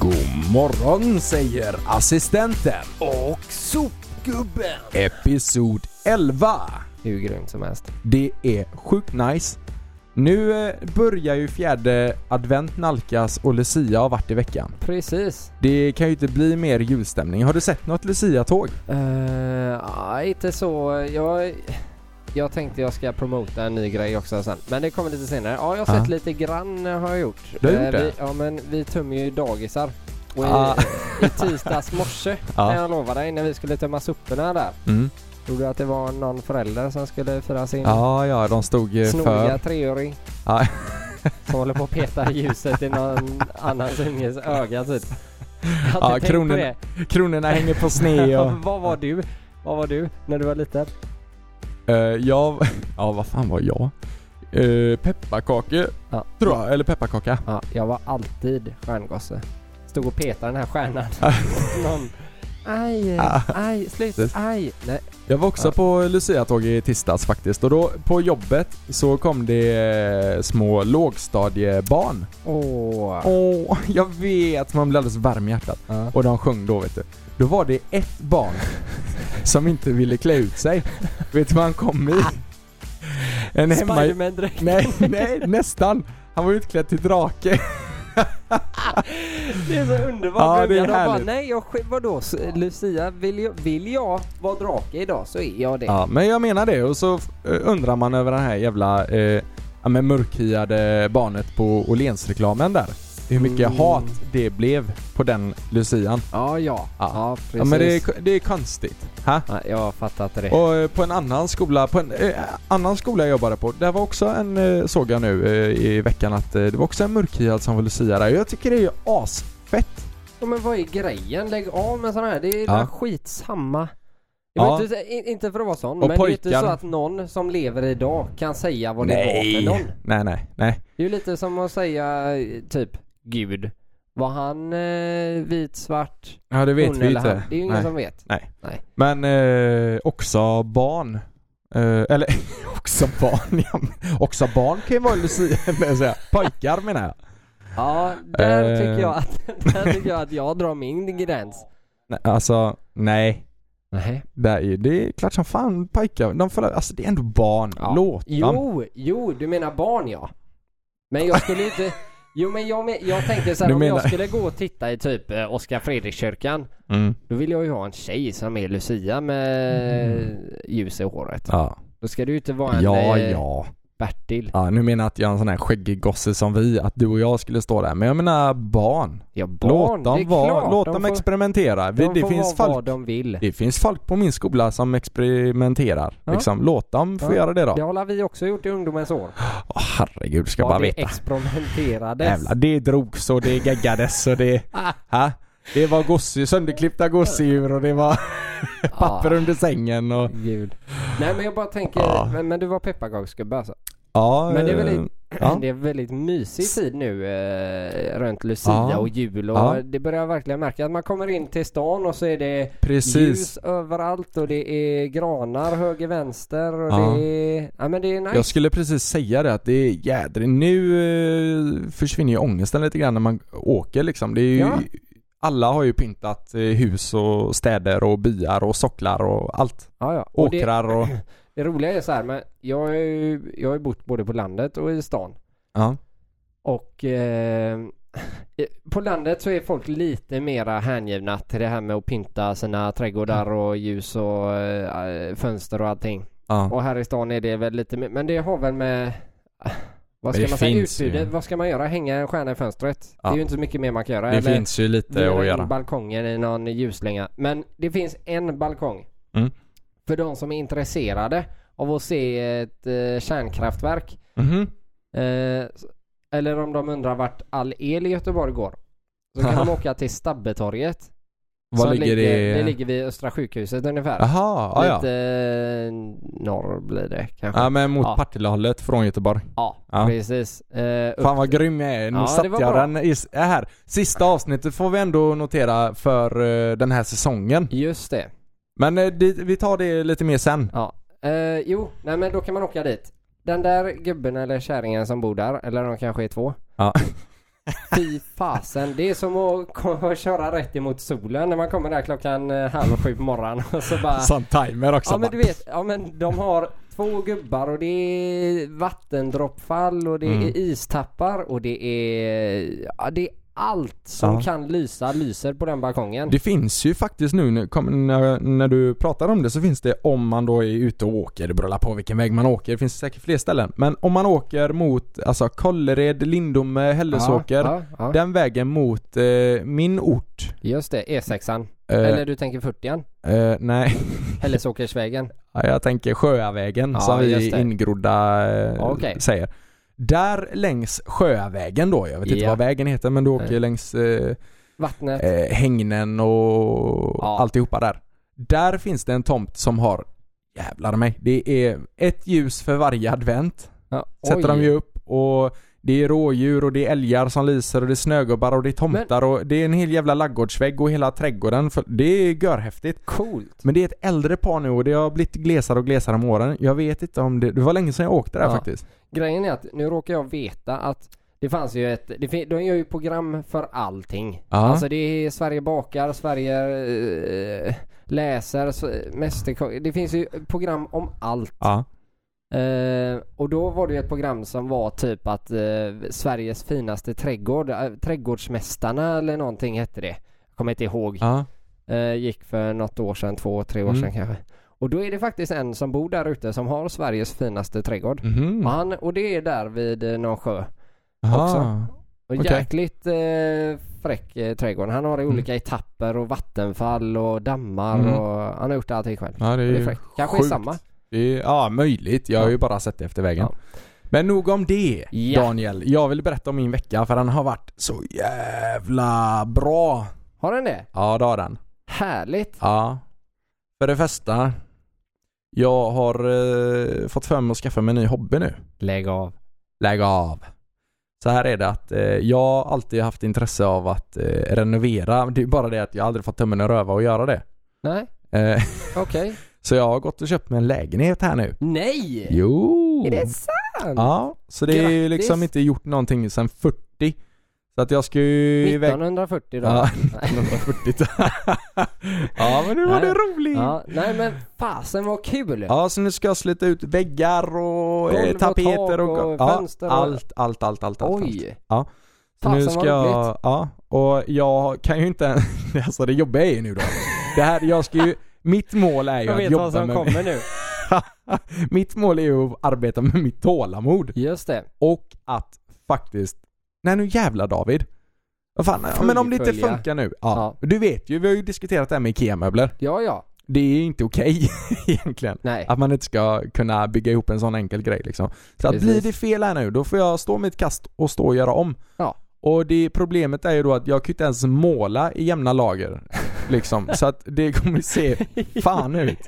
God morgon säger assistenten. Och sopgubben. Episod 11. Hur grymt som helst. Det är sjukt nice. Nu eh, börjar ju fjärde advent nalkas och Lucia har varit i veckan. Precis. Det kan ju inte bli mer julstämning. Har du sett något Lucia-tåg? Eh, ah, inte så. Jag, jag tänkte jag ska promota en ny grej också sen. Men det kommer lite senare. Ja, jag har sett Ah. lite grann eh, har jag gjort. Du har gjort vi, det? Ja, men vi tömmer ju dagisar. Och i, Ah. i tisdags morse, kan jag lova dig, när vi skulle tömma soporna där. Mm. Tror du att det var någon förälder som skulle fira sin Ja, ja, de stod ju för... snoriga treåring? Ja. Som håller på att peta ljuset i någon annans unges öga typ. Ja, Jag hade tänkt kronorna- på det. Kronorna hänger på sned och... Vad var du? Vad var du när du var liten? Eh, jag... Ja, vad fan var jag? Uh, pepparkakor, Ja. tror jag. Eller pepparkaka. Ja, jag var alltid stjärngosse. Stod och petade den här stjärnan. Någon. Aj, Ah. aj, slut, Precis. aj. Nej. Jag var också Ja. på Lucia-tåg i tisdags faktiskt och då på jobbet så kom det eh, små lågstadiebarn. Åh. Åh, jag vet! Man blir alldeles varm i hjärtat. Ja. Och de sjöng då vet du. Då var det ett barn som inte ville klä ut sig. Vet du vad han kom i? En hemma... Spiderman-dräkt. Nej, nej, nästan. Han var utklädd till drake. Det är så underbart. Ja, det är Jag bara, härligt. nej, jag, sk- vadå? S- Lucia, vill jag, vill jag vara drake idag så är jag det. Ja, men jag menar det och så eh, undrar man över den här jävla eh, ja, men mörkhyade barnet på Åhléns-reklamen där. Hur mycket Mm. hat det blev på den lucian. Ja, ja. Ja. precis. Ja, men det är, det är konstigt. Ha? Ja, jag fattar inte det. Och eh, på en annan skola, på en eh, annan skola jag jobbade på, där var också en, eh, såg jag nu eh, i veckan att eh, det var också en mörkhyad som var lucia där. Jag tycker det är ju asfett. Ja, men vad är grejen? Lägg av med sådana här. Det är Ja. ja. skitsamma. Ja. Jag vet inte, in- inte för att vara sån, Och men det är ju pojkar. inte så att någon som lever idag kan säga vad det var för någon. Nej, nej, nej. Det är ju lite som att säga eh, typ Gud. Var han eh, vit, svart, Ja, det vet hon vi eller inte. han? Det är ju ingen nej. som vet. Men eh, också barn. Eh, eller också barn, ja, men också barn kan ju vara lucia, men jag säger, pojkar menar jag. Ja, där Eh. tycker jag att, där tycker jag att jag drar min gräns. Nej, alltså, nej. Nej. Det är, ju- det är klart som fan pojkar, de får, alltså det är ändå barn. Ja. Låt dem. Jo, jo, du menar barn ja. Men jag skulle inte... Jo men jag, men- jag tänkte såhär, Du om menar- jag skulle gå och titta i typ eh, Oskar Fredrikkyrkan Mm. Då vill jag ju ha en tjej som är Lucia med ljus i håret. Mm. Ja. Då ska det ju inte vara en ja, eh, ja. Bertil. Ja, nu menar jag att jag är en sån här skäggig gosse som vi, att du och jag skulle stå där. Men jag menar barn. Ja, barn. låt dem det är vara, klart. låt de dem får, experimentera. Vi, de det får finns vara folk vad de vill. Det finns folk på min skola som experimenterar. Ja. Liksom, låt dem få Ja. göra det då. Det har vi också gjort i ungdomens år. Åh herregud, ska jag bara Vad det veta. experimenterades. Jävlar, det drogs och det gaggades och det... Ah. ha? Det var gosse, sönderklippta gosedjur och det var papper under sängen och... Ah, Gud. Nej men jag bara tänker, Ja. men, men du var pepparkaksgubbe alltså. Ja, Men det är väl eh, i- ja. Det är väldigt mysig tid nu eh, runt Lucia Ja. och jul och Ja. det börjar jag verkligen märka att man kommer in till stan och så är det Precis. ljus överallt och det är granar höger vänster och Ja. det är... Ja men det är nice. Jag skulle precis säga det att det är jädrigt. Nu eh, försvinner ju ångesten lite grann när man åker liksom. Det är ju, Ja. Alla har ju pyntat eh, hus och städer och byar och socklar och allt. Ja, ja. Och det, Åkrar och... det roliga är så här, men jag har ju jag har ju bott både på landet och i stan. Ja. Och eh, på landet så är folk lite mera hängivna till det här med att pynta sina trädgårdar och ljus och eh, fönster och allting. ja. Och här i stan är det väl lite mer, men det har väl med vad ska Men det man säga? finns ju. Utbudet, vad ska man göra? Hänga en stjärna i fönstret? Ja. Det är ju inte så mycket mer man kan göra. Det eller finns ju lite vira att eh, in göra. balkongen i någon ljuslänga. Men det finns en balkong. Mm. För de som är intresserade av att se ett eh, kärnkraftverk. Mhm. Eh, s- eller om de undrar vart all el i Göteborg går. Så kan de åka till Stabbetorget. Var som ligger det? Det ligger vid Östra sjukhuset ungefär. Jaha, ja, ja. Lite eh, norr blir det kanske. Ja men mot Ja. Partillehållet från Göteborg. Ja, Ja. precis. Eh, upp- Fan vad grym jag är. Nu Ja, det satte var jag bra. den i, s- här. Sista avsnittet får vi ändå notera för eh, den här säsongen. Just det. Men eh, det, vi tar det lite mer sen. Ja. Eh, jo, nej men då kan man åka dit. Den där gubben eller kärringen som bor där, eller de kanske är två. Ja. Fy fasen, det är som att ko- köra rätt emot solen när man kommer där klockan eh, halv sju på morgonen och så bara... Sån timer också. Ja men bara. du vet, ja men de har två gubbar och det är vattendroppfall och det är Mm. istappar och det är... Ja, det är allt som Ja. kan lysa lyser på den balkongen. Det finns ju faktiskt nu när, kom, när, när du pratar om det så finns det om man då är ute och åker, det beror på vilken väg man åker, det finns säkert fler ställen. Men om man åker mot alltså Kållered, Lindome, Hällesåker. Ja, ja, ja. Den vägen mot eh, min ort. Just det, E6an. Eh, Eller du tänker 40an? eh, nej, Hällesåkersvägen? Ja, jag tänker Sjöavägen Ja, som vi just det. ingrodda eh, Okej. säger. Där längs Sjöavägen då, jag vet inte Ja. vad vägen heter men du åker Nej. längs eh, Vattnet? eh, hängnen och Ja. alltihopa där. Där finns det en tomt som har, jävlar mig, det är ett ljus för varje advent. Ja, Sätter de oj. ju upp och det är rådjur och det är älgar som lyser och det är snögubbar och det är tomtar och det är en hel jävla laggårdsvägg och hela trädgården. För det är görhäftigt. Coolt. Men det är ett äldre par nu och det har blivit glesare och glesare med åren. Jag vet inte om det, det var länge sedan jag åkte där Ja. faktiskt. Grejen är att nu råkar jag veta att det fanns ju ett, det, fin- de gör ju program för allting. Ja. Alltså det är Sverige bakar, Sverige eh, läser, S- Mästerkock. Det finns ju program om allt. Ja. Eh, och då var det ju ett program som var typ att eh, Sveriges finaste trädgård, eh, Trädgårdsmästarna eller någonting hette det. Jag kommer inte ihåg. Ja. Eh, gick för något år sedan, två, tre år Mm. sedan kanske. Och då är det faktiskt en som bor där ute som har Sveriges finaste trädgård. Mhm. Och, han, och det är där vid eh, någon sjö. Aha. också. Och Okej. jäkligt eh, fräck eh, trädgården. Han har i Mm. olika etapper och vattenfall och dammar Mm. och han har gjort allting själv. Ja, det är Det ju är fräckt. Kanske sjukt. är samma. Det är, ja, möjligt. Jag har ju bara sett det efter vägen. Ja. Men nog om det Ja. Daniel. Jag vill berätta om min vecka för den har varit så jävla bra. Har den det? Ja det har den. Härligt. Ja. För det första. Jag har eh, fått för mig att skaffa mig en ny hobby nu. Lägg av. Lägg av. Så här är det att eh, jag har alltid haft intresse av att eh, renovera. Det är bara det att jag aldrig fått tummen och röva och göra det. Nej, Eh, okej. så jag har gått och köpt mig en lägenhet här nu. Nej! Jo! Är det sant? Ja, så det är ju Grattis. liksom inte gjort någonting sedan 40. Så att jag ska ju iväg... 1940 då? Ja, Nej. 1940. ja, men nu var det Nej. roligt! Ja. ja. Nej men fasen vad kul! så nu ska jag slita ut väggar och Golv eh, och tapeter tak och, och go- ja, fönster och- allt, allt, allt, allt, allt. allt. Oj! Ja. Så Fasen nu ska vad roligt. jag, ja, och jag kan ju inte ens, alltså det jobbiga är ju nu då. Det här, jag ska ju, mitt mål är ju Jag att vet vad jobba som med, kommer nu. mitt mål är ju att arbeta med mitt tålamod. Just det. Och att faktiskt, nej nu jävlar David. Vad fan, ja, men om det inte Fullfölja. funkar nu. Ja. Du vet ju, vi har ju diskuterat det här med IKEA-möbler. Ja, ja. Det är ju inte okej egentligen. Nej. Att man inte ska kunna bygga ihop en sån enkel grej liksom. Så att Precis. blir det fel här nu, då får jag stå mitt kast och stå och göra om. Ja. Och det problemet är ju då att jag kan ju inte ens måla i jämna lager. Liksom. Så att det kommer se fan ut.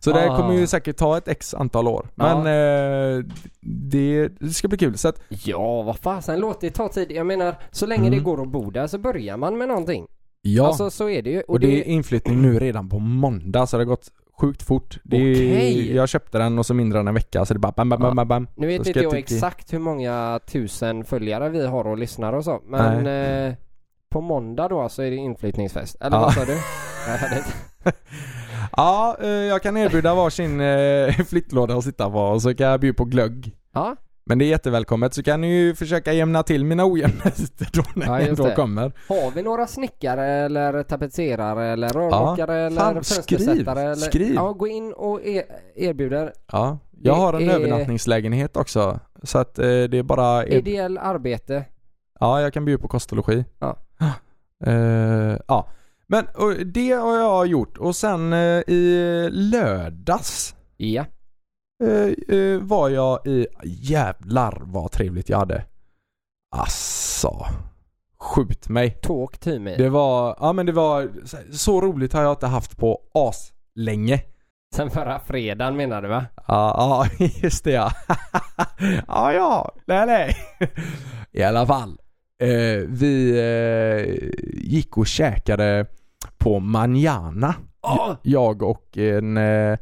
Så det här Ah. kommer ju säkert ta ett x antal år. Men eh, det, det ska bli kul. Så att, Ja, vad fasen, låt det ta tid. Jag menar, så länge Mm. det går att bo där så börjar man med någonting. ja. Alltså så är det ju. och det är inflyttning nu redan på måndag så det har gått sjukt fort. Det är, Okej. Jag köpte den och så mindre än en vecka så det bara bam bam bam bam. bam. Då Nu vet ska inte jag jag tycka- exakt hur många tusen följare vi har och lyssnare och så, men eh, på måndag då så är det inflyttningsfest. Eller Ja. vad sa du? Nej, det- Ja, eh, jag kan erbjuda varsin eh, flyttlåda att sitta på och så kan jag bjuda på glögg. ja, Men det är jättevälkommet så kan ni ju försöka jämna till mina ojämnheter då när Ja, ni just då det. kommer. har vi några snickare eller tapetserare eller rörmokare eller Fan, skriv, fönstersättare? Eller... skriv. Ja, gå in och e- erbjuder Ja, jag Det har en är- övernattningslägenhet också. Så att eh, det är bara... ideell arbete. Ja, jag kan bjuda på kost och logi. Ja. Eh, ja. Men och det har jag gjort och sen eh, i lördags Ja, eh, eh, var jag i... Jävlar vad trevligt jag hade. Asså. Skjut mig. talk to me. Det var, ja men det var, så roligt har jag inte haft på as länge. Sen förra fredagen menar du va? Ja, ja, just det ja. ja, ja, nej, nej. I alla fall. Eh, vi eh, gick och käkade på Manjana. Åh! Jag och en, eh,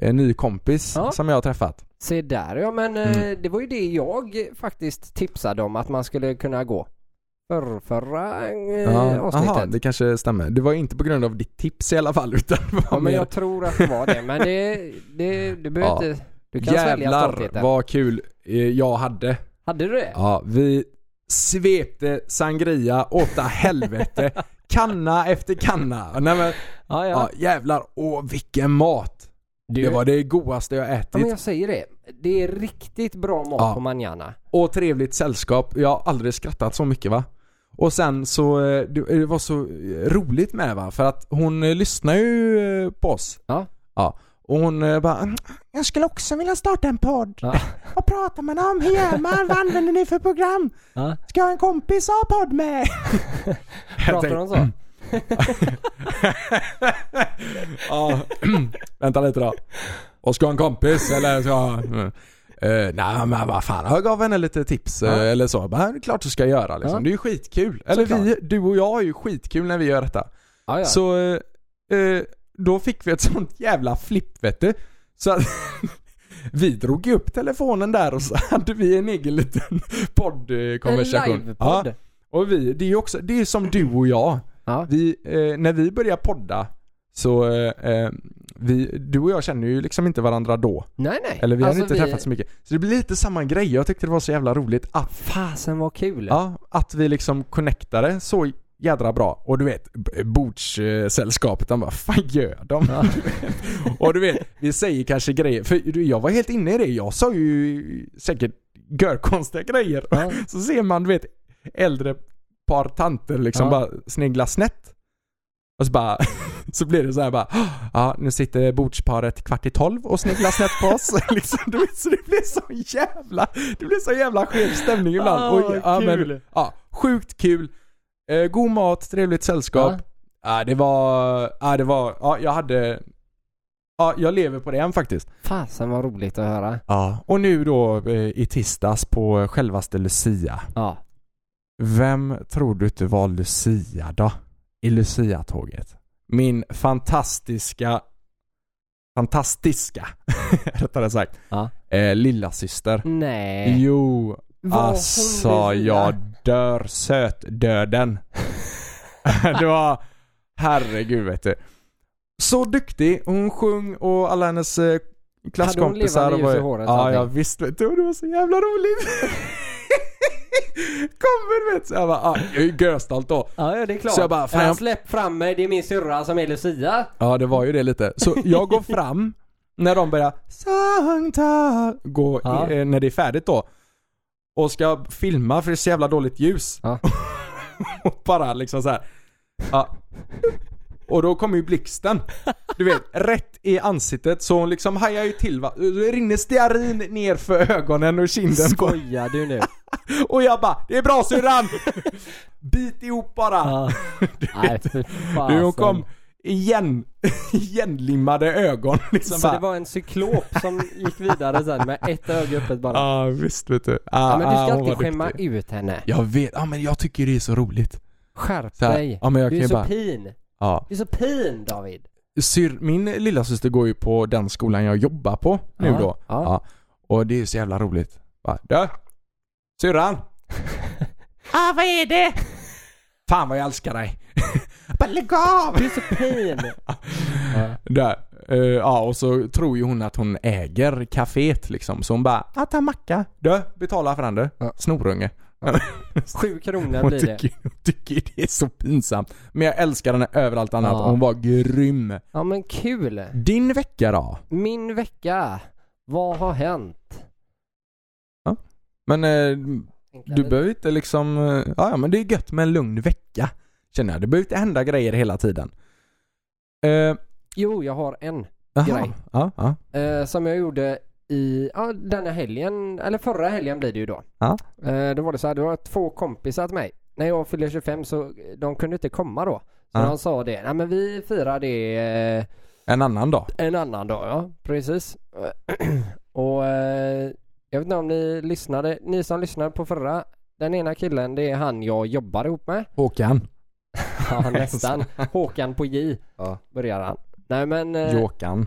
en ny kompis Ja. som jag har träffat. Se där ja men eh, Mm. det var ju det jag faktiskt tipsade om att man skulle kunna gå. För, förra eh, avsnittet. Jaha, det kanske stämmer. Det var inte på grund av ditt tips i alla fall utan det ja, var men mer... jag tror att det var det. Men det, det du behöver Ja. inte... Du kan svälja Jävlar stoltheten. vad kul eh, jag hade. Hade du det? Ja, vi svepte sangria åtta helvete. Kanna efter kanna. Nej, men, Ja, ja. ja, jävlar, åh vilken mat. Du, Det var det godaste jag ja, men ätit. jag säger det. Det är riktigt bra mat Ja. på manjana. Och trevligt sällskap. Jag har aldrig skrattat så mycket va. Och sen så, eh, det det var så eh, roligt med va. För att hon eh, lyssnar ju eh, på oss. Ja. Ja. Och hon eh, bara "Mm, Jag skulle också vilja starta en podd. Ja. Vad pratar man om? Hur gör man? Vad använder ni för program? Ja. Ska jag ha en kompis att ha podd med? Jag Pratar tänkte- de så? Ja, vänta lite då. Och ska ha en kompis eller ska jag... Mm. Eh, nej men vad fan, jag gav henne lite tips eh, Ja. eller så. Bara, det är klart du ska göra liksom. Ja. Det är ju skitkul. Eller vi, du och jag är ju skitkul när vi gör detta. Ja, ja. Så eh, eh, då fick vi ett sånt jävla flipp vet du. Så att vi drog ju upp telefonen där och så hade vi en egen liten poddkonversation. En livepodd. Och vi, det är ju också, det är som du och jag. Ja. Vi, eh, när vi börjar podda så, eh, eh, vi, du och jag känner ju liksom inte varandra då. Nej, nej. Eller vi har Alltså, inte träffats så mycket. Så det blir lite samma grej. Jag tyckte det var så jävla roligt att, Fasen vad kul. ja, att vi liksom connectade så jädra bra. Och du vet, b- bordssällskapet, de bara 'Fan gör de?' Ja. Och du vet, vi säger kanske grejer. För du, jag var helt inne i det. Jag sa ju säkert görkonstiga grejer. Ja. Så ser man, du vet, äldre par tanter liksom Ja. bara snegla snett. Och så bara, så blir det så här bara, "Ah, ja nu sitter bordsparet kvart i tolv och sneglar snett på oss. liksom, du vet, så det blir så jävla, det blir så jävla skev stämning ibland. Ah, Och- vad ja, kul. ja, sjukt kul. Eh, god mat, trevligt sällskap. Ja. Ja. det var, ja det var, ja jag hade, ja jag lever på det än faktiskt. Fasen vad roligt att höra. Ja. Och nu då eh, i tisdags på självaste Lucia. Ja. Vem tror du inte var Lucia då? I Lucia-tåget. Min fantastiska, fantastiska, rättare sagt, Ja. eh, lilla syster. Nej. Jo, Var hon alltså Lucia? jag dör sötdöden. det var, herregud vet du. Så duktig, hon sjöng och alla hennes eh, klasskompisar levande ljus i var håret och Ja, allting? jag visste vet du, och det var så jävla roligt. Kommer vet du. Så jag bara, ah, jag är ju görstolt då. Ja, ja, det är klart. Så jag bara, fan, jag- släpp fram mig, det är min syrra som är Lucia. Ja det var ju det lite. Så jag går fram när de börjar Sankta, gå, Ja. eh, när det är färdigt då. Och ska filma för det är så jävla dåligt ljus. Ja. och bara liksom så här. Ja. Och då kommer ju blixten. Du vet, rätt i ansiktet så hon liksom hajar ju till va. Det rinner stearin ner för ögonen och kinden på Skojar du nu? Och jag bara, det är bra syrran! Bit ihop bara. Ja. Nej, för fasen. Du, hon kom igen, igenlimmade ögon liksom Så bara. det var en cyklop som gick vidare sen med ett öga öppet bara. Ja, Ja visst vet du. Ah, men du ska hon alltid var skämma duktig. ut henne. Jag vet, ja men jag tycker det är så roligt. Skärp Så här, dig. ja, men jag du kan är ju så bara- pin. Ja. Du är så pin David. Syr, min lilla syster går ju på den skolan jag jobbar på nu Ja, då. ja. Och det är så jävla roligt. Bara, du! Syrran! ah vad är det? Fan vad jag älskar dig. Bara lägg av! Du är så pin. ja. Där. Eh, ja, och så tror ju hon att hon äger kaféet liksom. Så hon bara ah, ta en macka. Du, betala för den du. Ja. Snorunge. Sju kronor Hon blir det. tycker, hon tycker det är så pinsamt. Men jag älskar henne överallt annat. Ja. Hon var grym. Ja men kul. Din vecka då? Min vecka. Vad har hänt? Men eh, du behöver inte liksom... eh, Ja, ja, men det är gött med en lugn vecka. Känner jag. Det behöver inte hända grejer hela tiden. Eh, Jo, jag har en. aha. Grej. Ja, ja. Eh, som jag gjorde i, ja denna helgen, eller förra helgen blir det ju då. Ja. Eh, då var det så här, det var två kompisar till mig. När jag fyllde 25 så eh, de kunde inte komma då. Så Ja. de sa det, nej men vi firar det eh, En annan dag. en annan dag ja, precis. Och eh, jag vet inte om ni lyssnade, ni som lyssnade på förra, den ena killen det är han jag jobbar ihop med. Håkan. Ja, nästan. Håkan på J Ja. börjar han. Nej men... eh, Jåkan.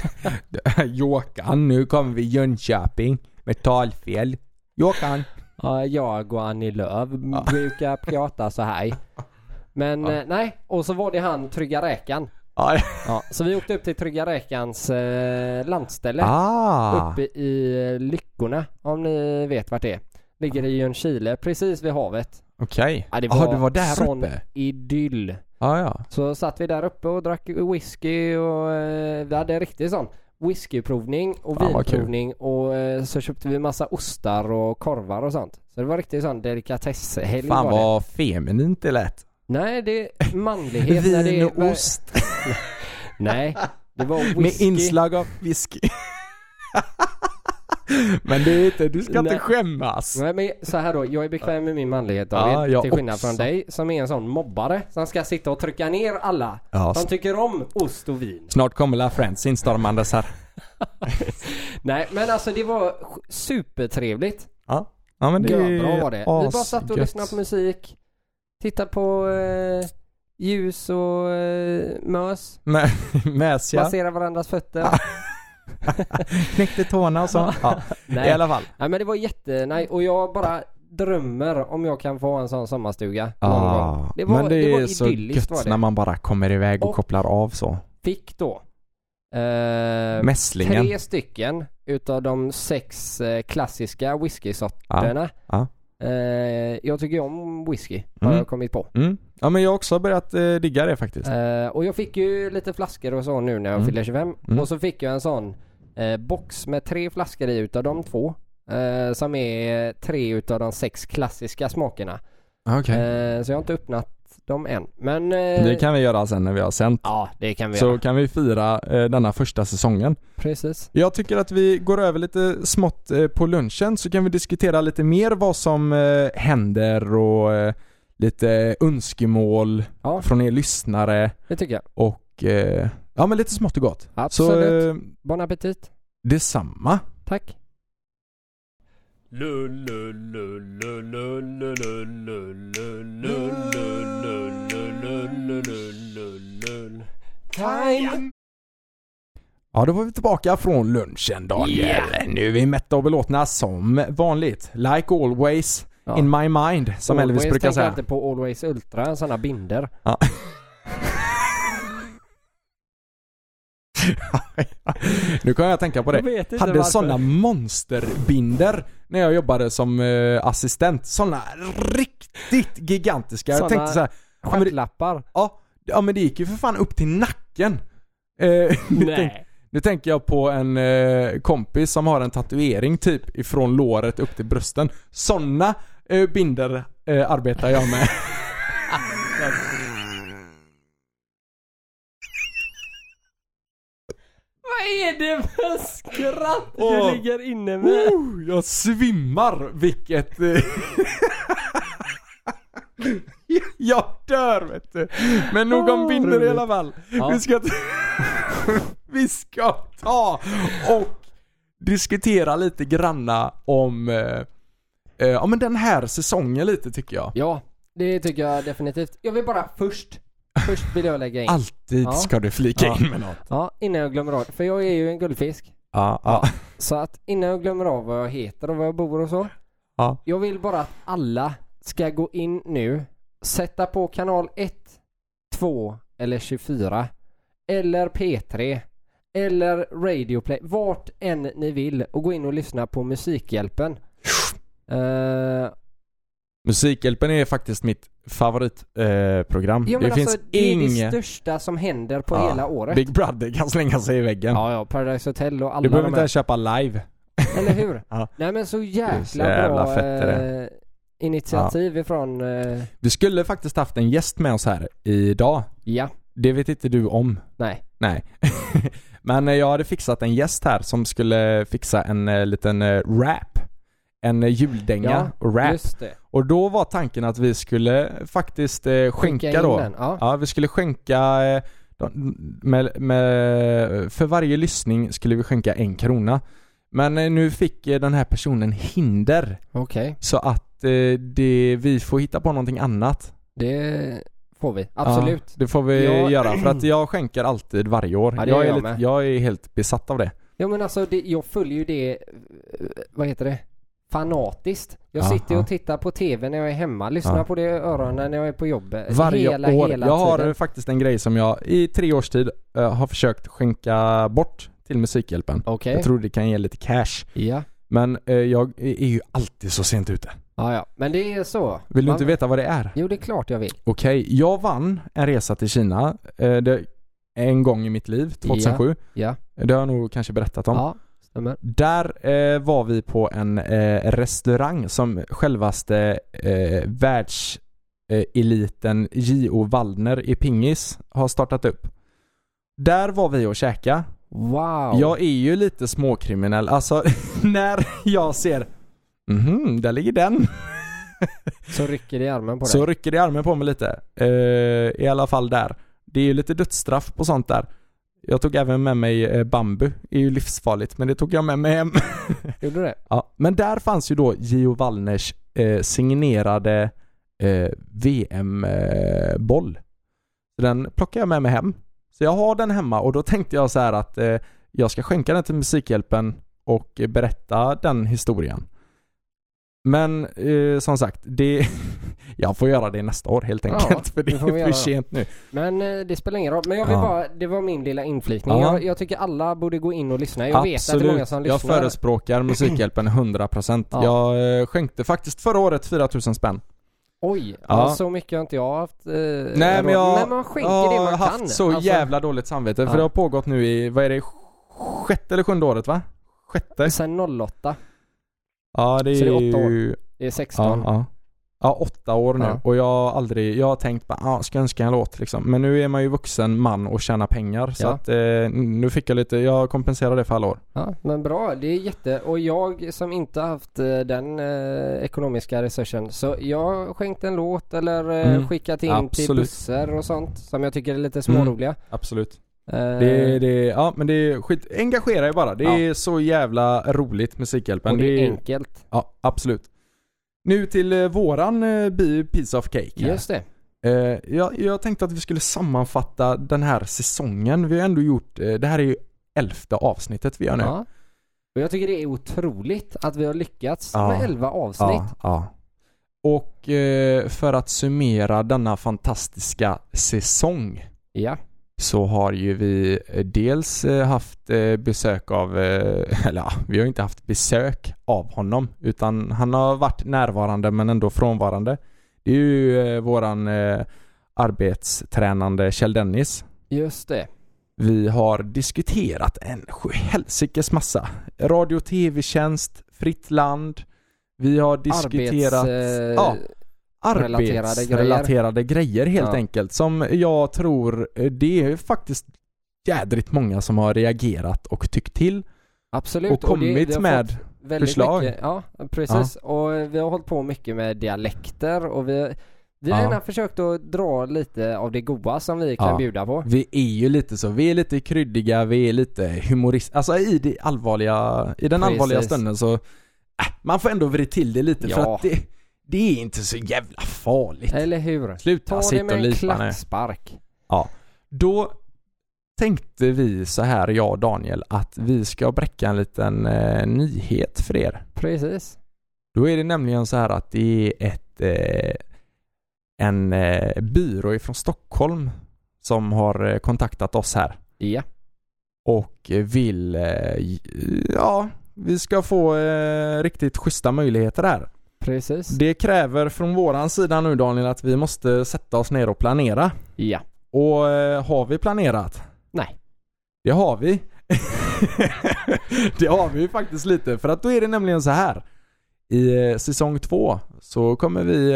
Jåkan, nu kommer vi Jönköping med talfel. Jåkan. Ja, jag och Annie Lööf brukar prata så här. Men eh, nej, och så var det han Trygga Räkan. Ja. Ja, så vi åkte upp till Trygga Räkans eh, landställe. Ah. Uppe i eh, Lyckorna, om ni vet vart det är. Ligger i Ljungskile, precis vid havet. Okej. Ja, det Jaha, du var där sån uppe? idyll. Ja, ja. Så satt vi där uppe och drack whisky och eh, vi hade en riktig sån whiskyprovning och Fan, vad kul. vinprovning och eh, så köpte vi massa ostar och korvar och sånt. Så det var riktigt sån delikatesshelg Fan var det. vad feminint det lät. Nej det är manlighet när det Vin är... och ost Nej, det var whisky. med inslag av whisky. Men det är inte, du ska inte Nej. skämmas. Nej men så här då, jag är bekväm med min manlighet David. Ja, jag till skillnad också. från dig som är en sån mobbare som ska sitta och trycka ner alla Ja, som tycker om ost och vin. snart kommer La Friends instormandes här. Nej men alltså det var supertrevligt. Ja. Ja men det är Bra var det. Vi bara satt och asgött. lyssnade på musik, tittade på eh, ljus och eh, mös, Med, mäsiga, masserade varandras fötter. Ah, knäckte tårna och så. Ja. I Nej. alla fall. Nej men det var jätte, nej och jag bara drömmer om jag kan få en sån sommarstuga någon Ah. gång. Det var, men det, var är så idylliskt var gött det. när man bara kommer iväg och, Och- kopplar av så. Fick då eh, Mässlingen. tre stycken utav de sex eh, klassiska whiskysorterna. Ja, Eh, jag tycker om whisky, har ah. Mm. jag kommit på. Mm. Ja men jag har också börjat eh, digga det faktiskt. Eh, och jag fick ju lite flaskor och så nu när jag Mm. fyller 25. Mm. Och så fick jag en sån eh, box med tre flaskor i utav de två. Eh, som är tre utav de sex klassiska smakerna. Okej. Eh, så jag har inte öppnat dem än. Men... eh, Det kan vi göra sen när vi har sänt. Ja, det kan vi Så göra. kan vi fira eh, denna första säsongen. Precis. Jag tycker att vi går över lite smått eh, på lunchen så kan vi diskutera lite mer vad som eh, händer och eh, lite önskemål Ja, från er lyssnare det tycker jag. och eh, ja men lite smått och gott. Absolut. Så eh, Bon appetit. detsamma. Tack. Time. Ja, då var vi tillbaka från lunchen Daniel. Yeah. Nu är vi mätta och belåtna som vanligt. Like always, Ja. in my mind, som Elvis brukar tänker säga. alltid på Always Ultra, sådana binder. nu kan jag tänka på det. vet Hade sådana monsterbinder när jag jobbade som eh, assistent. Sådana riktigt gigantiska. Såna- Jag tänkte så här, ja, men det, stjärtlappar. ja, ja men det gick ju för fan upp till nacken. Eh, nu, tänk, nu tänker jag på en eh, kompis som har en tatuering typ ifrån låret upp till brösten. Sådana eh, binder eh, arbetar jag med. Vad är det för skratt Åh. du ligger inne med? Oh, jag svimmar vilket... eh, jag dör vet du. Men nog om Åh, binder i roligt. alla fall. Ja. Vi ska... Vi ska ta och diskutera lite granna om... eh, eh, Ja men den här säsongen lite tycker jag. Ja, det tycker jag definitivt. Jag vill bara först, först vill jag lägga in. Alltid Ja. ska du flika Ja. in med något. Ja, innan jag glömmer av. För jag är ju en guldfisk. Ja, ja. Så att innan jag glömmer av vad jag heter och var jag bor och så. Ja. Jag vill bara att alla ska gå in nu, sätta på kanal 1, 2 eller 24. Eller P3. Eller Radio Play. Vart än ni vill och gå in och lyssna på Musikhjälpen. Eh, Mm. Musikhjälpen är faktiskt mitt favoritprogram. Eh, program. ja, men det alltså, finns det är det inget... största som händer på Ja, hela året. Big Brother kan slänga sig i väggen. Ja, ja, Paradise Hotel och alla Du behöver de inte här. ens köpa live. Eller hur? Ja. Nej men så är jäkla, så jävla bra fett är det. eh, initiativ ifrån... Eh, Vi skulle faktiskt haft en gäst med oss här idag. ja, Det vet inte du om. nej. Nej. Men eh, jag hade fixat en gäst här som skulle fixa en eh, liten eh, rap. En eh, juldänga och rap. Just det. Och då var tanken att vi skulle faktiskt eh, skänka, in då. den, Ja. Ja, vi skulle skänka eh, de- med, med, för varje lyssning skulle vi skänka en krona. Men eh, nu fick eh, den här personen hinder Okej. så att eh, det, vi får hitta på någonting annat. Det får vi. Absolut. Ja, det får vi Ja. göra för att jag skänker alltid varje år. Ja, det jag, gör är jag lite, med. jag är helt besatt av det. Ja men alltså det, jag följer ju det, eh, vad heter det, fanatiskt. Jag Aha. sitter och tittar på TV när jag är hemma, lyssnar Ja. på det i öronen när jag är på jobbet. Varje hela, år. Hela jag har eh, tiden. faktiskt en grej som jag i tre års tid eh, har försökt skänka bort till Musikhjälpen. Okej. Jag tror det kan ge lite cash. Ja. Men eh, jag är ju alltid så sent ute. ja, ja. Men det är så. Vill du Man- inte veta vad det är? Jo det är klart jag vill. Okej, jag vann en resa till Kina eh, det, en gång i mitt liv, 2007. Ja. Det har jag nog kanske berättat om. Ja, stämmer. Där eh, var vi på en eh, restaurang som självaste eh, världseliten J.O. Waldner i pingis har startat upp. Där var vi och käka. Wow. Jag är ju lite småkriminell. Alltså när jag ser Mhm, där ligger den. Så rycker det i armen på dig. Så rycker det i armen på mig lite. Eh, I alla fall där. Det är ju lite dödsstraff på sånt där. Jag tog även med mig eh, bambu. Det är ju livsfarligt men det tog jag med mig hem. Gjorde du det? Ja, men där fanns ju då Gio Wallners eh, signerade eh, VM-boll. Så den plockade jag med mig hem. Så jag har den hemma och då tänkte jag så här att eh, jag ska skänka den till Musikhjälpen och eh, berätta den historien. Men eh, som sagt, det... jag får göra det nästa år helt Ja, enkelt för det det får vi är för göra. sent nu. Men eh, det spelar ingen roll. Men jag vill Ja. bara, det var min lilla inflikning. Ja. Jag, jag tycker alla borde gå in och lyssna. Jag vet att det är många som jag lyssnar. förespråkar Musikhjälpen 100%. Ja. Jag eh, skänkte faktiskt förra året 4000 spänn. Oj, Ja. så mycket har inte jag haft. Eh, Nej råd. men jag Nej, man skänker jag det har man haft kan. så Alltså, jävla dåligt samvete för Ja. det har pågått nu i, vad är det, sjätte eller sjunde året va? Sjätte? Sen 08. Ja det är, så det är åtta år. ju... Det är Ja, 16. ja. ja, åtta år nu Ja. och jag har aldrig, jag har tänkt bara, ah, ska jag önska en låt liksom. Men nu är man ju vuxen man och tjänar pengar så Ja. att eh, nu fick jag lite, jag kompenserar det för alla år. Ja, men bra, det är jätte... Och jag som inte haft eh, den eh, ekonomiska resursen, så jag skänkte en låt eller eh, Mm, skickat in till absolut. bussar och sånt som jag tycker är lite småroliga. Absolut. Eh, Det, det, ja men det är skit, engagera er bara. Det Ja. är så jävla roligt Musikhjälpen. och det är Det är- enkelt. Ja, absolut. Nu till eh, våran eh, bi- piece of cake. här. Just det. Eh, jag, jag tänkte att vi skulle sammanfatta den här säsongen. Vi har ändå gjort, eh, det här är ju elfte avsnittet vi gör nu. Ja. Och jag tycker det är otroligt att vi har lyckats Ja. med 11 avsnitt. ja. Och eh, för att summera denna fantastiska säsong Ja. så har ju vi eh, dels eh, haft eh, besök av, eh, eller ja, vi har inte haft besök av honom utan han har varit närvarande men ändå frånvarande. Det är ju eh, våran eh, arbetstränande Kjell Dennis Just det. Vi har diskuterat en sjuhelsikes massa. Radio och tv-tjänst, fritt land. Vi har diskuterat ja, Arbets... eh, relaterade arbetsrelaterade grejer. helt Ja. enkelt. Som jag tror, eh, det är faktiskt jädrigt många som har reagerat och tyckt till Absolut. och kommit har med fått väldigt förslag. Mycket, ja, precis. Och vi har hållit på mycket med dialekter och vi, vi har Ja. gärna försökt att dra lite av det goa som vi kan Ja. bjuda på. Vi är ju lite så, vi är lite kryddiga, vi är lite humoristiska. Alltså i, det allvarliga, i den Precis. allvarliga stunden så, äh, man får ändå vrida till det lite för Ja. att det, det är inte så jävla farligt. Eller hur? Sluta Ta det sitta och med en lipa nu. klackspark. Då tänkte vi så här, jag och Daniel, att vi ska bräcka en liten eh, nyhet för er. Precis. Då är det nämligen så här att det är ett, eh, en eh, byrå ifrån Stockholm som har eh, kontaktat oss här. Ja. och vill, eh, ja, vi ska få eh, riktigt schyssta möjligheter här. Precis. Det kräver från våran sida nu Daniel att vi måste sätta oss ner och planera. Ja. Och eh, har vi planerat? Nej. Det har vi. det har vi ju faktiskt lite för att då är det nämligen så här. I eh, säsong två så kommer vi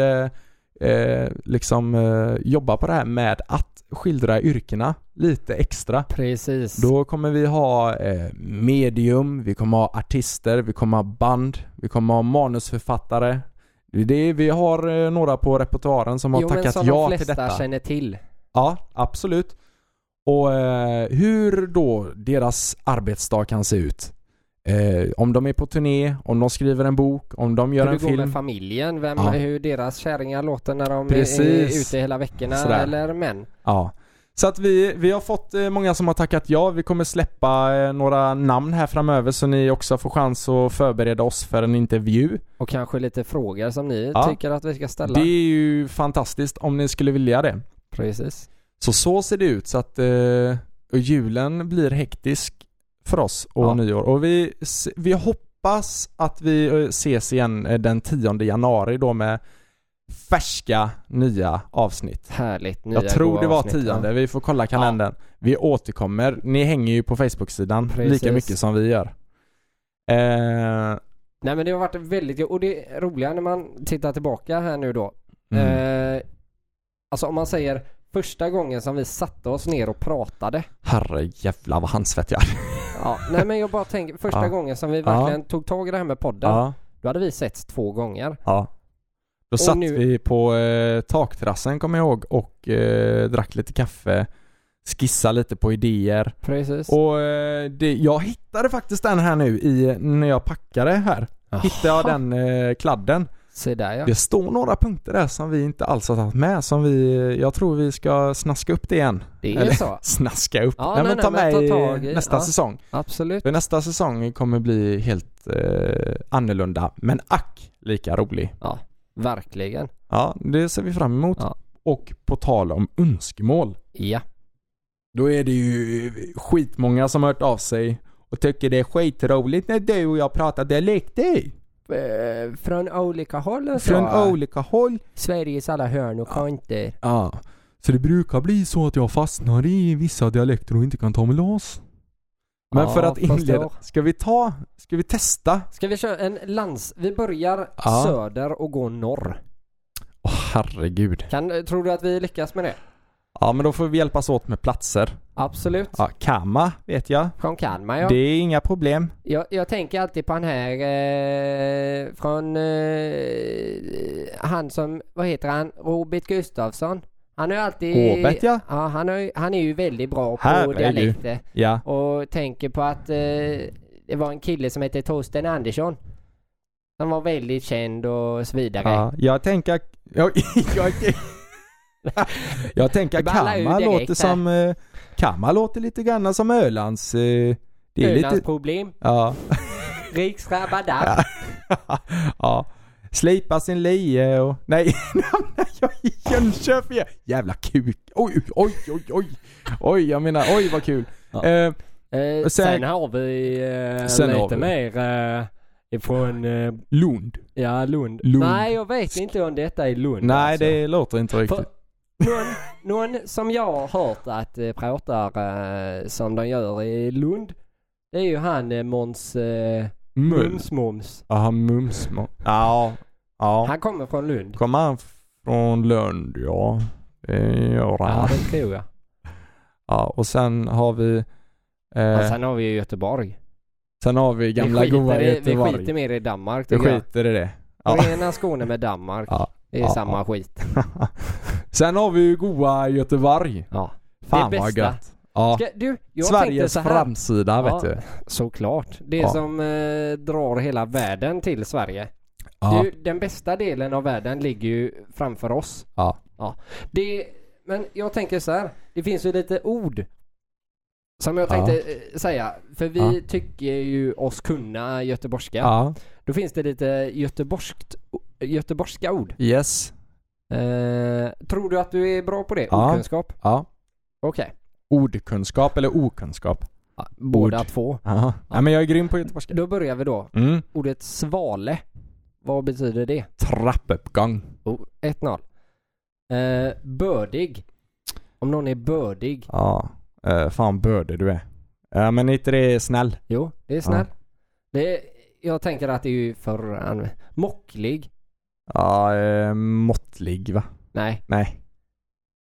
eh, eh, liksom eh, jobba på det här med att skildra yrkena lite extra. Precis. Då kommer vi ha eh, medium, vi kommer ha artister, vi kommer ha band, vi kommer ha manusförfattare. Det är det, vi har eh, några på repertoaren som har jo, men tackat som ja de till flesta detta. känner till. Ja, absolut. Och eh, hur då deras arbetsdag kan se ut. Eh, om de är på turné, om de skriver en bok, om de gör hur en det går film. med familjen, vem, Ja. hur deras kärringar låter när de är Precis. ute hela veckorna Sådär. eller män. Ja. Så att vi, vi har fått eh, många som har tackat ja. Vi kommer släppa eh, några namn här framöver så ni också får chans att förbereda oss för en intervju. Och kanske lite frågor som ni Ja. tycker att vi ska ställa. Det är ju fantastiskt om ni skulle vilja det. Precis. Så så ser det ut så att eh, och julen blir hektisk för oss och Ja. nyår. Och vi, s- vi hoppas att vi eh, ses igen eh, den 10 januari då med färska nya avsnitt. Härligt. Nya Jag tror goa det var avsnitt, ja. tionde, vi får kolla kalendern. Vi återkommer, ni hänger ju på Facebook-sidan Precis. lika mycket som vi gör. Eh, Nej men det har varit väldigt Och det roliga när man tittar tillbaka här nu då. mm. Eh, alltså om man säger första gången som vi satte oss ner och pratade. Herrejävlar vad handsvett jag är. Ja. Nej men jag bara tänker första Ja. gången som vi Ja. verkligen tog tag i det här med podden. Ja, Då hade vi setts två gånger. ja. Då satt nu- vi på eh, takterrassen kommer jag ihåg och eh, drack lite kaffe, skissade lite på idéer. Precis. Och eh, det, jag hittade faktiskt den här nu i, när jag packade här. Hittade jag den eh, kladden. Se där Ah. ja. Det står några punkter där som vi inte alls har tagit med som vi, jag tror vi ska snaska upp det igen. Det är Eller- så. Snaska upp? Ja, nej, nej, men ta nej, men med i ta tag i- nästa ja. säsong. Absolut. För nästa säsong kommer bli helt eh, annorlunda men ack lika rolig. Verkligen. Ja, det ser vi fram emot. Ja. Och på tal om önskemål. Ja. Då är det ju skitmånga som har hört av sig och tycker det är skitroligt när du och jag pratar dialekter. Eh, Från olika håll och Från olika håll. Sveriges alla hörn och kanter. Ja. Så det brukar bli så att jag fastnar i vissa dialekter och inte kan ta mig loss. Men Ja, för att förstår. inleda, ska vi ta, ska vi testa? Ska vi köra en lands... Vi börjar Ja. söder och går norr. Åh herregud. Kan, tror du att vi lyckas med det? Ja men då får vi hjälpas åt med platser. Absolut. Ja, Kama vet jag. Från Kalmar ja. Det är inga problem. Jag, jag tänker alltid på han här eh, från eh, han som, vad heter han, Robert Gustafsson. Han är ju alltid... Robert, ja. Ja, han, har, ju- han är ju väldigt bra på Herregud. dialekter. Ja. Och tänker på att eh, det var en kille som hette Torsten Andersson. Han var väldigt känd och så vidare. ja jag tänker, jag, jag, jag tänker Ballar ur Kama direkt låter här. som, eh, Kama låter lite grann som Ölands, eh, det är lite, Ölandsproblem, ja. riksrabbadabb. ja. Slipa sin lie och... Nej, jag är i Jönköping! Jävla kuk! Oj, oj, oj, oj! Oj, jag menar, oj vad kul! Ja. Eh, Eh, sen, Sen- har vi eh, Sen lite har vi. mer eh, ifrån eh, Lund. ja, Lund. Lund. Nej, jag vet inte om detta är Lund. Nej, alltså. det låter inte För, riktigt. någon, någon som jag har hört att eh, pratar eh, som de gör i Lund. Det är ju han eh, Måns eh, Mums Mums. Jaha, mums. Ja. Ja. Han kommer från Lund. Kommer han från Lund, ja. Det gör Ja, han. det tror jag. Ja, och sen har vi... Och Eh, sen har vi ju Göteborg. sen har vi gamla vi, goa skiter i, vi Göteborg. skiter mer i Danmark Vi tycker jag. skiter i det. Ja. Rena Skåne med Danmark. Ja. Det är Ja. samma skit. Sen har vi ju goa Göteborg. Ja. Fan Det är vad bästa. gött. Ja. Ska, du, jag tänkte Sveriges så här. framsida Ja. vet du. Såklart. Det Ja. som eh, drar hela världen till Sverige. Ja. Du, den bästa delen av världen ligger ju framför oss. Ja. Det, men jag tänker så här. Det finns ju lite ord. Som jag tänkte eh, säga. För vi Ja. tycker ju oss kunna göteborgska. ja. Då finns det lite göteborgskt, göteborgska ord. Yes. Eh, tror du att du är bra på det? Ja. Ordkunskap? Ja. Okej. Ordkunskap eller okunskap? Båda Ord. två. Ja. Nej men jag är grym på göteborgska. Då börjar vi då. Mm. Ordet svale. Vad betyder det? Trappuppgång. Oh, 1-0. Eh, bördig. Om någon är bördig. Ja. Eh, fan börde du är. Ja men inte det är snäll. Jo, det är snäll. Det är, jag tänker att det är ju för... an- Mocklig. Ja, eh, måttlig va? Nej, Nej.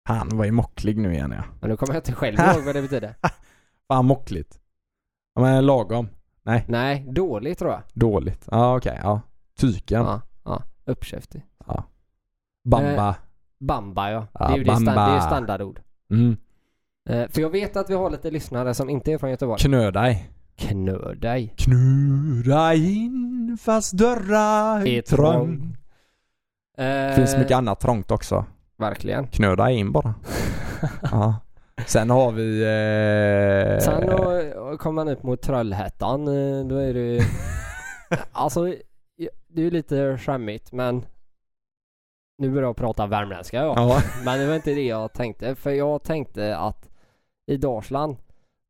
Han var ju mocklig nu igen ja. men nu kommer jag inte själv ihåg vad det betyder. Fan mockligt. Ja, men lagom. Nej, Nej, dålig tror jag. dåligt. Ja okej, ja. Tyken. Ja, ja. Uppkäftig. Bamba. Eh. Bamba ja. Ja, det är ju det, stan- det är bamba. ju standardord. Mm. Eh, för jag vet att vi har lite lyssnare som inte är från Göteborg. Knö dig. Knör dig. Knura in fast dörrar Är är trång. trång. Eh, Finns mycket annat trångt också. Verkligen. Knöda in bara. ja. Sen har vi... Eh... Sen då eh, kommer man upp mot Trollhättan, eh, då är det ju- Alltså, ja, det är ju lite skämmigt men Nu börjar jag prata värmländska ja. Ja. Men det var inte det jag tänkte, för jag tänkte att i Dalsland,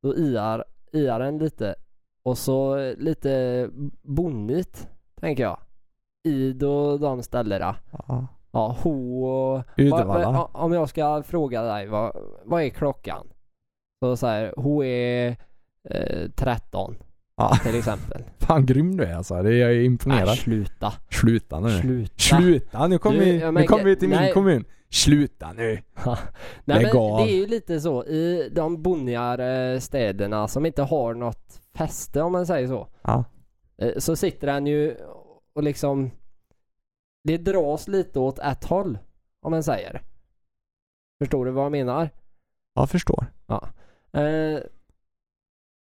då iar, iar en lite och så lite bonnigt, tänker jag. I då de ställena. ja. Ja, ho och... Uddevalla. Va- va- Om jag ska fråga dig, vad, vad är klockan? Så säger ho är eh, 13 Ja. till exempel. Fan grym du är alltså. Det är, jag är imponerad. Nej, sluta. Sluta nu. Sluta. Sluta. Nu kommer Du, vi, jag nu kom märker- vi till nej. min kommun. Sluta nu. Nej, Lägg men av. det är ju lite så i de bonnigare eh, städerna som inte har något fäste om man säger så. Ja. Eh, Så sitter han ju och liksom Det dras lite åt ett håll om man säger. Förstår du vad jag menar? Jag förstår. Eh,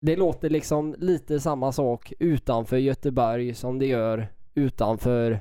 Det låter liksom lite samma sak utanför Göteborg som det gör utanför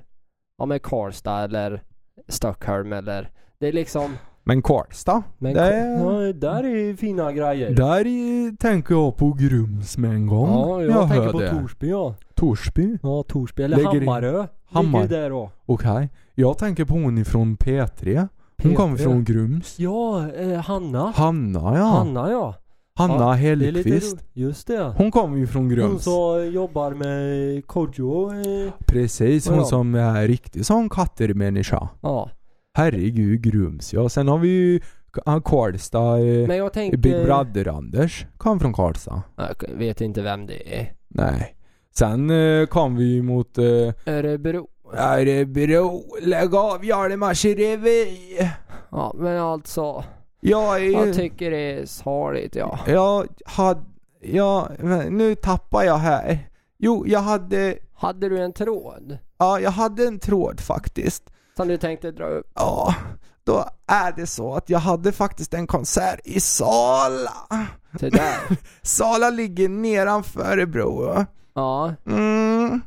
ja, men Karlstad eller Stockholm eller Det är liksom Men Karlstad? men det är, Ja, där är ju fina grejer. där är, tänker jag på Grums med en gång. Ja, jag, tänker hör på det. Torsby ja. Torsby. Ja, Torsby eller Lägger in- Hammarö. Hammar. Ligger ju där då. Okej. Jag tänker på hon ifrån P3. Hon kommer P3. från Grums. Ja, eh, Hanna. Hanna ja. Hanna ja. Hanna Ja, Det är lite Hellqvist. ro- Just det. Hon kommer ju från Hon Grums. som jobbar med Kodjo. eh, Precis, hon Ja. som är riktig sån kattermänniska. Ja. Herregud Grums ja. Sen har vi ju K- Karlstad. eh, Men jag tänker... Big Brother-Anders kom från Karlstad. Jag vet inte vem det är. Nej. Sen eh, kom vi ju mot eh, Örebro. Örebro. Lägg av Hjalmars revy. Ja, men alltså. Jag är Jag tycker det är sorgligt ja. Jag hade... Jag... Nu tappar jag här. Jo, jag hade... Hade du en tråd? Ja, jag hade en tråd faktiskt. Som du tänkte dra upp? Ja, då är det så att jag hade faktiskt en konsert i Sala. Se där. Sala ligger nedanför Örebro. va? Ja. Mm.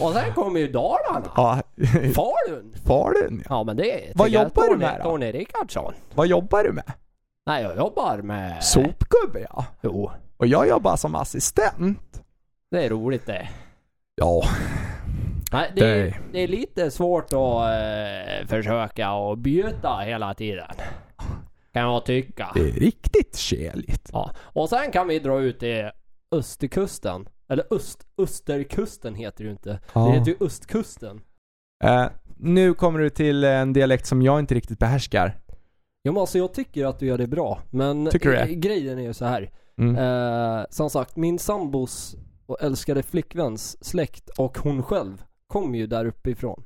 Och sen kommer ju Dalarna. Ja, Falun. Falun. Ja men det är... Vad tycker jag jobbar du Tony- med då? Tony Rickardsson. Vad jobbar du med? Nej jag jobbar med... Sopgubbe ja. Jo. Och jag jobbar som assistent. Det är roligt det. Ja. Nej, det, Det- är, det är lite svårt att eh, försöka att byta hela tiden. Kan jag tycka. Det är riktigt keligt. Ja. Och sen kan vi dra ut till östkusten. Eller öst, österkusten heter det ju inte. Ja. Det heter ju östkusten. Eh, nu kommer du till en dialekt som jag inte riktigt behärskar. Jo men alltså jag tycker att du gör det bra. Men Tycker du det? eh, grejen är ju så här. Mm. Eh, som sagt, min sambos och älskade flickväns släkt och hon själv kom ju där uppifrån.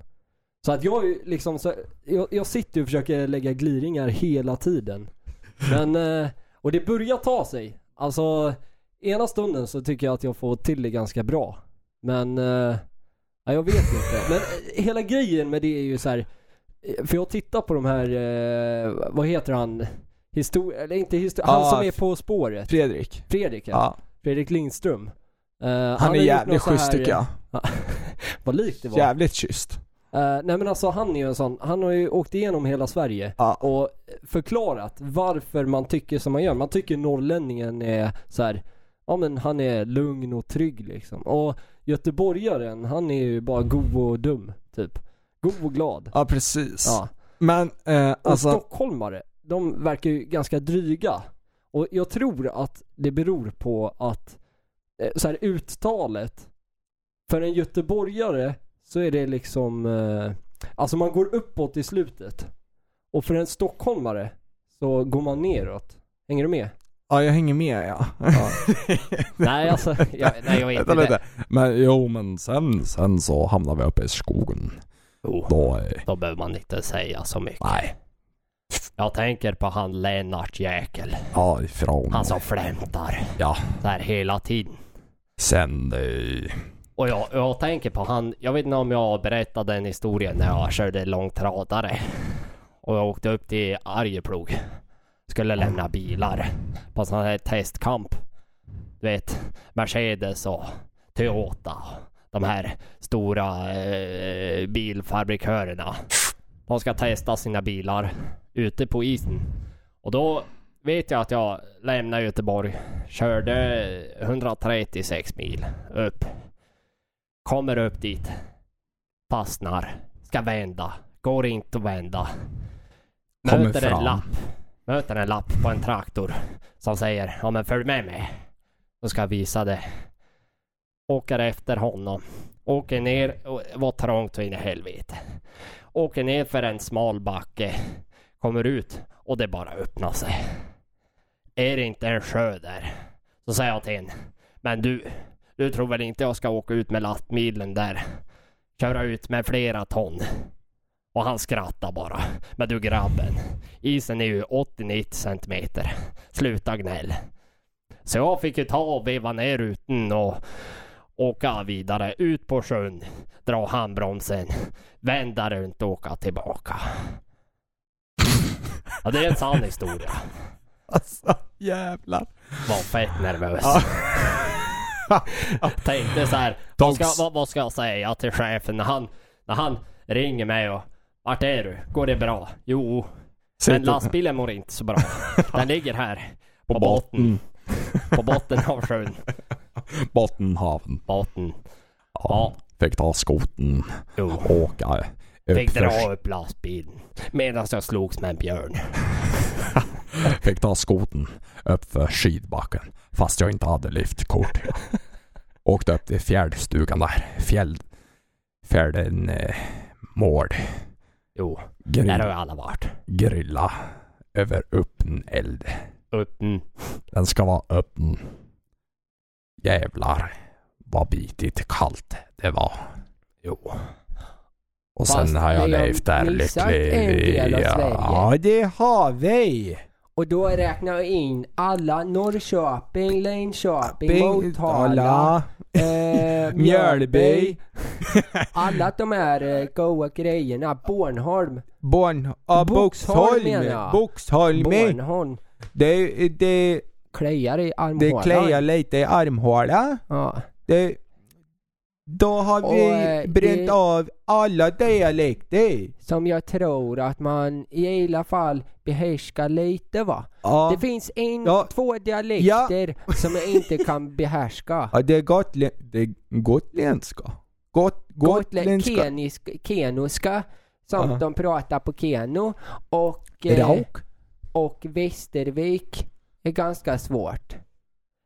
Så att jag är ju liksom så, jag, jag sitter ju och försöker lägga gliringar hela tiden. Men, eh, och det börjar ta sig. Alltså, ena stunden så tycker jag att jag får till det ganska bra. Men, eh, ja, jag vet inte. Men eh, hela grejen med det är ju så här. eh, För jag tittar på de här, eh, vad heter han? Histori- eller inte histori- han Ah, som är f- På spåret. Fredrik. Fredrik ja. Ja. Fredrik Lindström. Eh, Han, är har gjort jävligt något så här- eh, schysst tycker jag. Vad likt det var. Jävligt schysst. Eh, nej men alltså han är ju en sån, han har ju åkt igenom hela Sverige Ja. och förklarat varför man tycker som man gör. Man tycker norrlänningen är så här, ja men han är lugn och trygg liksom. Och göteborgaren, han är ju bara god och dum typ. God och glad. Ja, precis. Ja. Men eh, Och alltså, stockholmare, de verkar ju ganska dryga. Och jag tror att det beror på att eh, så här uttalet, för en göteborgare så är det liksom, eh, alltså man går uppåt i slutet. Och för en stockholmare så går man neråt. Hänger du med? ja jag hänger med ja. nej alltså, jag, nej jag vet Vänta inte. lite. Men jo men sen, sen så hamnar vi uppe i skogen. Jo, Då, eh, Oh, då behöver man inte säga så mycket. nej. Jag tänker på han Lennart Jäkel, Ja, ifrån. han som flämtar. Ja. Så här hela tiden. Sen, eh, Och jag, jag tänker på han, jag vet inte om jag berättade den historien när jag körde långtradare. Och jag åkte upp till Arjeplog. skulle lämna bilar på sån här testkamp. Du vet, Mercedes och Toyota. De här stora eh, bilfabrikörerna. De ska testa sina bilar ute på isen. Och då vet jag att jag lämnade Göteborg. Körde eh, 136 mil upp. Kommer upp dit. Fastnar. Ska vända. Går inte att vända. Kommer Möter en fram. lapp. Möter en lapp på en traktor. Som säger ja men följ med mig. Då ska jag visa det. Åker efter honom. Åker ner. och Var trångt så in i helvete. Åker ner för en smal backe. Kommer ut och det bara öppnar sig. Är det inte en sjö där? Så säger jag till en. Men du, du tror väl inte jag ska åka ut med lastbilen där? Köra ut med flera ton. Och han skrattar bara. Men du grabben, isen är ju 80-90 centimeter. Sluta gnäll. Så jag fick ju ta och veva ner rutan och åka vidare ut på sjön. Dra handbromsen, vända runt och åka tillbaka. Ja, det är en sann historia. Alltså jävlar. Var fett nervös. Ja. Tänkte så här, vad ska, vad, vad ska jag säga till chefen när han, när han ringer mig och Vart är du? Går det bra? Jo, Typ. men lastbilen mår inte så bra. Den ligger här Mm. på botten, på botten av sjön. Bottenhaven. Botten. Ja, Fick ta skoten. jo. Åka Fick dra upp lastbilen medan jag slogs med en björn. Fick ta skoten upp för skidbacken. Fast jag inte hade liftkort. Åkte upp till fjällstugan där. Fjäll... Fjällen... Eh, mål. Jo, Mm. där har Grill, ju alla varit. grilla. Över öppen eld. Öppen. Den ska vara öppen. Jävlar vad bitigt kallt det var. Jo. Och Fast sen har jag det är levt där missat en lycklig. del av Sverige. det har vi. Och då räknar jag in alla Norrköping, Linköping, eh, Mjölby. Alla de här eh, goa grejerna. Bornholm. Born, ah, Boxholm menar jag. Boxholm. Bornholm. Det, det, Kliar i det armhålan. kliar lite i armhåla. Ja. Det, då har Och, vi eh, bränt det- av alla dialekter. Som jag tror att man i alla fall behärskar lite va. Ja. Det finns en, Ja. två dialekter som jag inte kan behärska. Ja, det är, gotlä- det är gotländska. Got- Gotlä- gotländska. Kenisk, kenoska, som Aha. de pratar på Keno. Och, eh, Rauk. och Västervik är ganska svårt.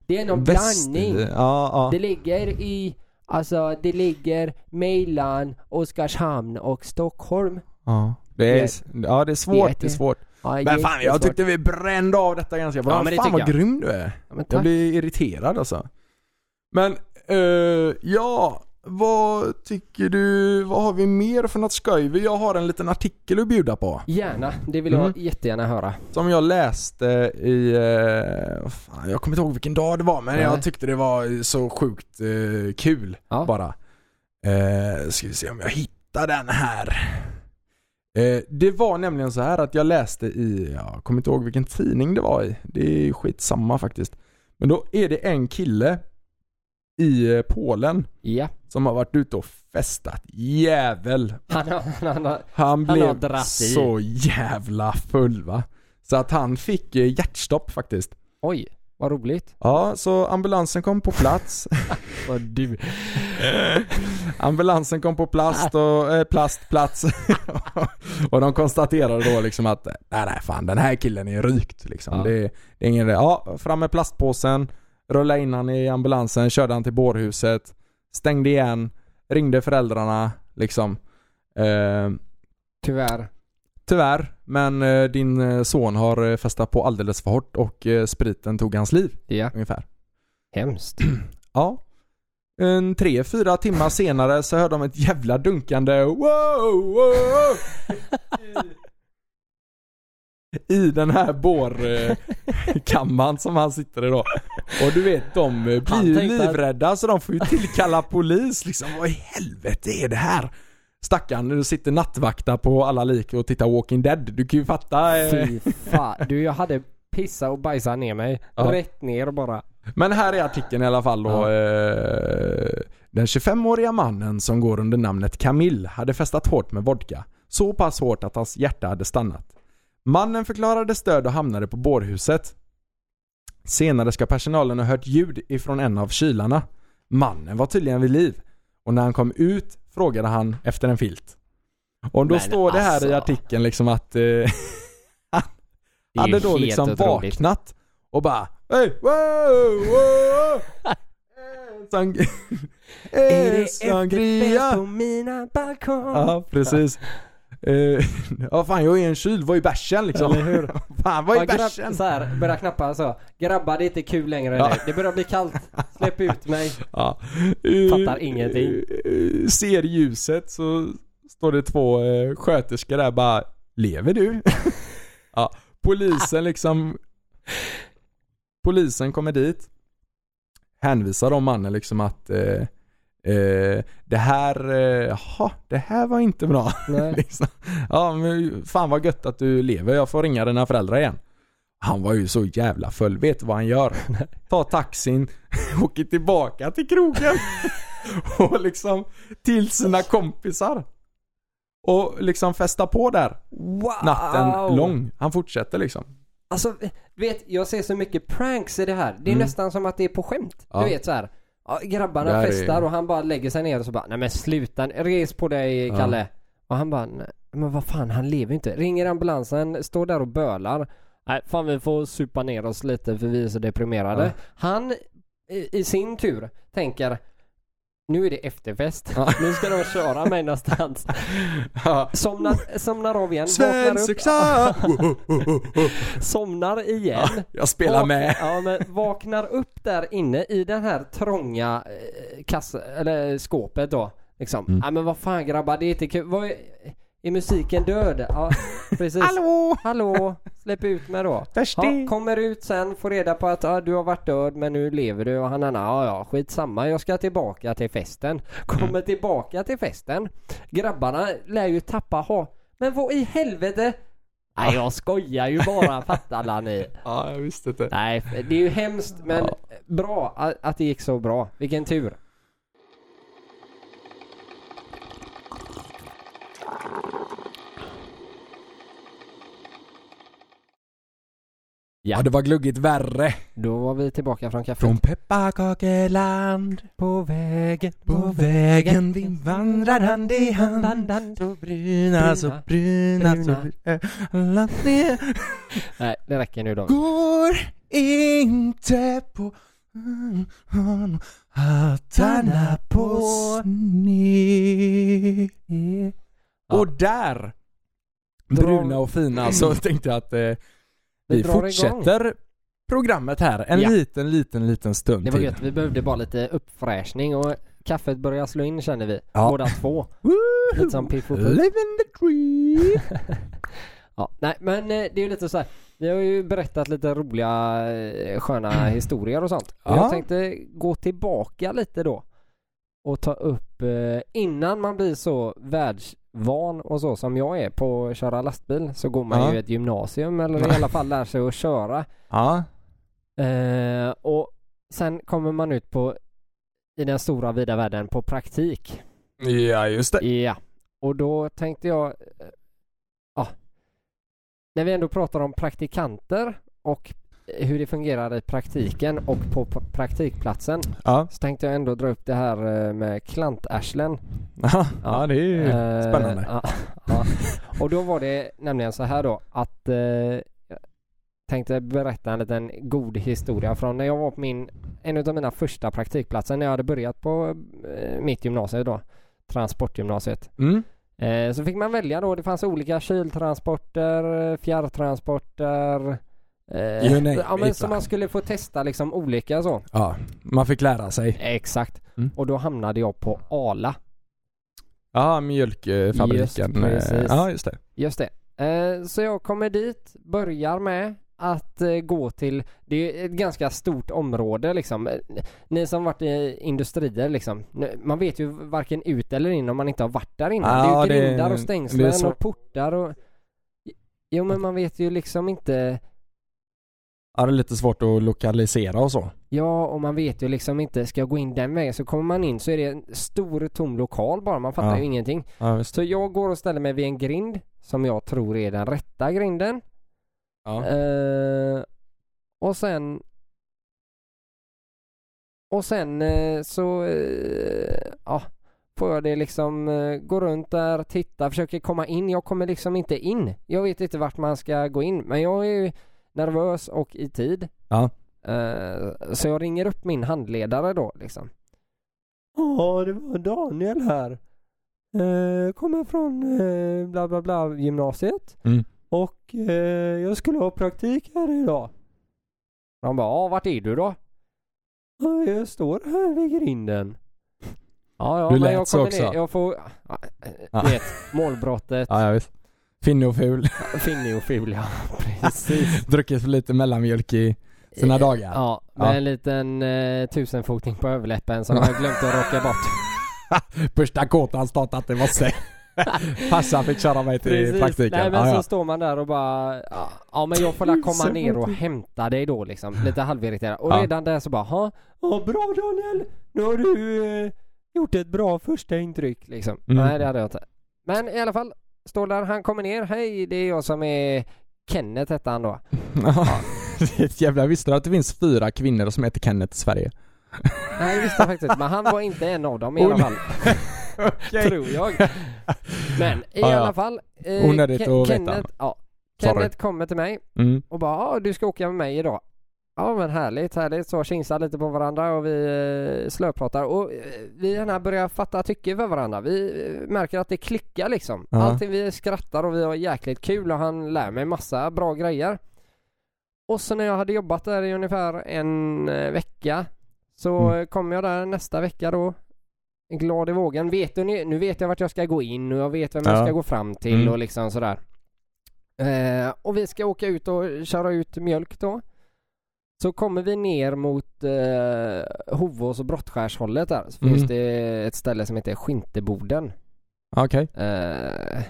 Det är någon Väster- blandning. Ja, Det ja. ligger i, alltså det ligger mellan Oskarshamn och Stockholm. ja. Det är, Vet- ja, det är svårt. vet Det är det. svårt. Ja, Men fan, jag jättesvårt. tyckte vi brände av detta ganska bra. Ja, men det fan tycker vad jag. grym du är. Ja, men Jag tack. blir irriterad alltså. Men, eh, ja. Vad tycker du? Vad har vi mer för något skoj? Jag har en liten artikel att bjuda på. Gärna, det vill Mm. jag jättegärna höra. Som jag läste i, eh, vad fan, jag kommer inte ihåg vilken dag det var men Nej. jag tyckte det var så sjukt eh, kul Ja. bara. Eh, ska vi se om jag hittar den här. Eh, det var nämligen så här att jag läste i, jag kommer inte ihåg vilken tidning det var i. Det är skitsamma faktiskt. Men då är det en kille i eh, Polen Ja. som har varit ute och festat jävel Han har, han har, han Han har blev dratt i. så jävla full va. Så att han fick eh, hjärtstopp faktiskt. oj, vad roligt. Ja, så ambulansen kom på plats. Vad du. ambulansen kom på plast och eh, plast, plats. och de konstaterade då liksom att nej, nej fan den här killen är rykt liksom. Ja. Det, är- det är ingen idé. Ja, fram med plastpåsen, rulla in han i ambulansen, körde han till bårhuset, stängde igen, ringde föräldrarna liksom. Ehm, Tyvärr. Tyvärr, men eh, din eh, son har eh, festat på alldeles för hårt och eh, spriten tog hans liv Ja. ungefär. Hemskt. Ja. En tre, fyra timmar senare så hör de ett jävla dunkande wow, wow i den här bårkammaren som han sitter i då. Och du vet, de eh, Han blir ju tänkte att- livrädda så de får ju tillkalla polis liksom. Vad i helvete är det här? Stackarn, du sitter nattvakta på alla lik och tittar Walking Dead. Du kan ju fatta. eh. Fy fan. Du, jag hade pissa och bajsa ner mig. Ja. Rätt ner bara. Men här är artikeln i alla fall då. Ja. Eh, Den 25-åriga mannen som går under namnet Camille hade festat hårt med vodka. Så pass hårt att hans hjärta hade stannat. Mannen förklarades död och hamnade på bårhuset. Senare ska personalen ha hört ljud ifrån en av kylarna. Mannen var tydligen vid liv. Och när han kom ut frågade han efter en filt. Och då Men står det här i alltså. artikeln liksom att eh, Det är hade ju då helt liksom otroligt. vaknat och bara Hej! Wow! wow. En sån- En sangria! mina balkong? Eh, Ja, precis. Eh, Ja fan jag är en kyl, vad är bärsen liksom? Eller hur? Fan vad Ja, är bärsen? grabb, så här, börjar knappa så. Grabbar det är inte kul längre Ja. nu. Det börjar bli kallt. Släpp ut mig. Ja. Fattar Eh, ingenting. eh, Ser ljuset så står det två eh, sköterskor där bara Lever du? ja. Polisen liksom Polisen kommer dit Hänvisar om mannen liksom att eh, eh, Det här, eh, jaha, det här var inte bra Nej. liksom. Ja men fan vad gött att du lever, jag får ringa dina föräldrar igen. Han var ju så jävla full, vet du vad han gör? Tar taxin, åker tillbaka till krogen och liksom till sina kompisar. Och liksom festar på där Wow! natten lång. Han fortsätter liksom. Alltså, du vet, jag ser så mycket pranks i det här. Det är Mm. nästan som att det är på skämt. Ja. Du vet så här. Ja, Det grabbarna här är- festar och han bara lägger sig ner och så bara Nej men sluta, res på dig Ja. Kalle. Och han bara "Nej, Men vad fan, han lever ju inte. Ringer ambulansen, står där och bölar. Nej fan vi får supa ner oss lite för vi är så deprimerade. Ja. Han i, i sin tur tänker Nu är det efterfest. Ja. Nu ska de köra mig någonstans. Ja. Somnar, somnar av igen, vaknar upp, Svensexa! somnar igen. Ja, Jag spelar Vak- med. Ja, men vaknar upp där inne i den här trånga eh, kass, eller skåpet då. Liksom. Mm. Ja men vad fan grabbar, det är inte kul. Vad är, är musiken död? Ja, precis. Hallå! Hallå! Släpp ut mig då. Törstig. Ja, kommer ut sen, får reda på att ja, du har varit död men nu lever du och han annan, ja ja skitsamma jag ska tillbaka till festen. Kommer Mm. tillbaka till festen. Grabbarna lär ju tappa ha. Men vad i helvete? Nej jag skojar ju bara fattar alla ni. Ja, jag visste inte. Nej, det är ju hemskt men Ja. bra a- att det gick så bra. Vilken tur. Ja, det var gluggigt värre. Då var vi tillbaka från kaféet. Från pepparkakeland På vägen, På vägen vi vandrar hand i hand Så bruna, så bruna, Eh, så bruna Nej, det räcker nu då. Går inte på hattarna på sned Ja. Och där! Dra- Bruna och fina så tänkte jag att eh, vi, Vi drar igång. fortsätter programmet här en Ja. liten, liten, liten stund Det var till. gött, vi behövde bara lite uppfräschning och kaffet började slå in känner vi. Ja. Båda två. Woohoo! Lite som Piff och Puff. Living the dream! Ja, nej men eh, det är ju lite så här. Vi har ju berättat lite roliga eh, sköna historier och sånt. Och Ja. Jag tänkte gå tillbaka lite då. Och ta upp eh, innan man blir så världsvan och så som jag är på att köra lastbil så går man Ja. ju ett gymnasium eller i alla fall lär sig att köra. ja. Eh, och sen kommer man ut på i den stora vida världen på praktik. ja, just det. Ja, och då tänkte jag... eh, Ja. När vi ändå pratar om praktikanter och eh, hur det fungerar i praktiken och på p- praktikplatsen Ja, så tänkte jag ändå dra upp det här eh, med klantarslen. ja. det är ju Eh, spännande. Ja, ja. Och då var det nämligen så här då att eh, jag tänkte berätta en liten god historia från när jag var på min, en av mina första praktikplatser när jag hade börjat på eh, mitt gymnasium då, transportgymnasiet. Mm. Eh, så fick man välja då. Det fanns olika kyltransporter, eh, fjärrtransporter. Eh, You name ja, men it, så va? man skulle få testa liksom olika så. Ja, man fick lära sig. Exakt. Mm. Och då hamnade jag på Ala. Ja, mjölkfabriken. Eh, Just precis. ja, just det. Just det. Eh, så jag kommer dit, börjar med att eh, gå till, det är ett ganska stort område liksom. Eh, Ni som varit i industrier liksom, nu- man vet ju varken ut eller in om man inte har varit där innan. Ja, det det är ju är- grindar det är och stängslen svårt. och portar och... Jo men man vet ju liksom inte, Ja, det är lite svårt att lokalisera och så. ja och man vet ju liksom inte, ska jag gå in den vägen? Så kommer man in så är det en stor tom lokal bara, man fattar Ja. ju ingenting. Ja, visst. Så jag går och ställer mig vid en grind som jag tror är den rätta grinden. Ja. Eh, och sen... Och sen eh, så... eh, Ja, får jag det liksom eh, gå runt där, titta, försöker komma in. Jag kommer liksom inte in. Jag vet inte vart man ska gå in. Men jag är ju nervös och i tid. Ja. Eh, så jag ringer upp min handledare då liksom. Ja, det var Daniel här. Eh, kommer från eh, bla bla bla gymnasiet. Mm. Och eh, jag skulle ha praktik här idag. De bara, ja vart är du då? Ja, jag står här vid grinden. Ja, ja, Du men lät jag så kommer också. ner. Jag får, ja, Ja. vet, målbrottet, Ja, ja visst. Finne och ful. finnig och ful ja. Precis. Druckit för lite mellanmjölk i sina dagar. Eh, Ja, med Ja. en liten eh, tusenfoting på överläppen som jag glömt att rocka bort. Första kåtan startat det var sig. Farsan fick köra mig till praktiken. Nej men ja, så ja. står man där och bara ja, Ja men jag får la komma ner och hämta dig då liksom. Lite halvirriterad. Och Ja. redan där så bara ha Ja bra Daniel! Nu har du eh, gjort ett bra första intryck liksom. Mm. Nej det hade jag inte. Men i alla fall. Står där, han kommer ner. Hej det är jag som är Kenneth hette han då. Jävlar, visste du att det finns fyra kvinnor som heter Kenneth i Sverige? Nej det visste jag faktiskt inte, men han var inte en av dem Oh, i alla fall. Tror jag. Men i Ja, ja. alla fall. Eh, Onödigt Ke- att veta. Kenneth, ja, Sorry. Kenneth kommer till mig. Mm. och bara ah, du ska åka med mig idag. Ja men härligt, härligt. Så tjingsar lite på varandra och vi eh, slöpratar och eh, vi gärna börjar fatta tycke för varandra. Vi eh, märker att det klickar liksom. Ja. Allting vi skrattar och vi har jäkligt kul och han lär mig massa bra grejer. Och så när jag hade jobbat där i ungefär en eh, vecka så Mm. eh, kom jag där nästa vecka då. Glad i vågen. Vet ni, nu vet jag vart jag ska gå in och jag vet vem jag Ja. ska gå fram till Mm. och liksom sådär. Eh, och vi ska åka ut och köra ut mjölk då. Så kommer vi ner mot eh, Hovås och Brottskärshållet där. Så Mm. finns det ett ställe som heter Skinteboden. Okej. Eh,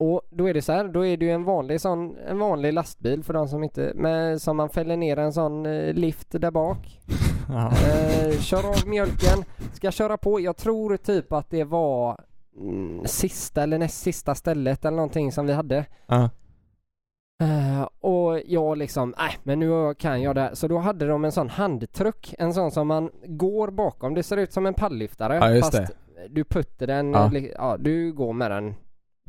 och då är det så här, då är det ju en vanlig sån, en vanlig lastbil för de som inte, med, som man fäller ner en sån eh, lift där bak. Ja. Eh, kör av mjölken, ska köra på. Jag tror typ att det var mm, sista eller näst sista stället eller någonting som vi hade. Ja. Eh, och jag liksom, nej men nu kan jag det här. Så då hade de en sån handtruck, en sån som man går bakom. Det ser ut som en palllyftare. Ja, just fast du putter den, Ja. eh, li- ja, du går med den.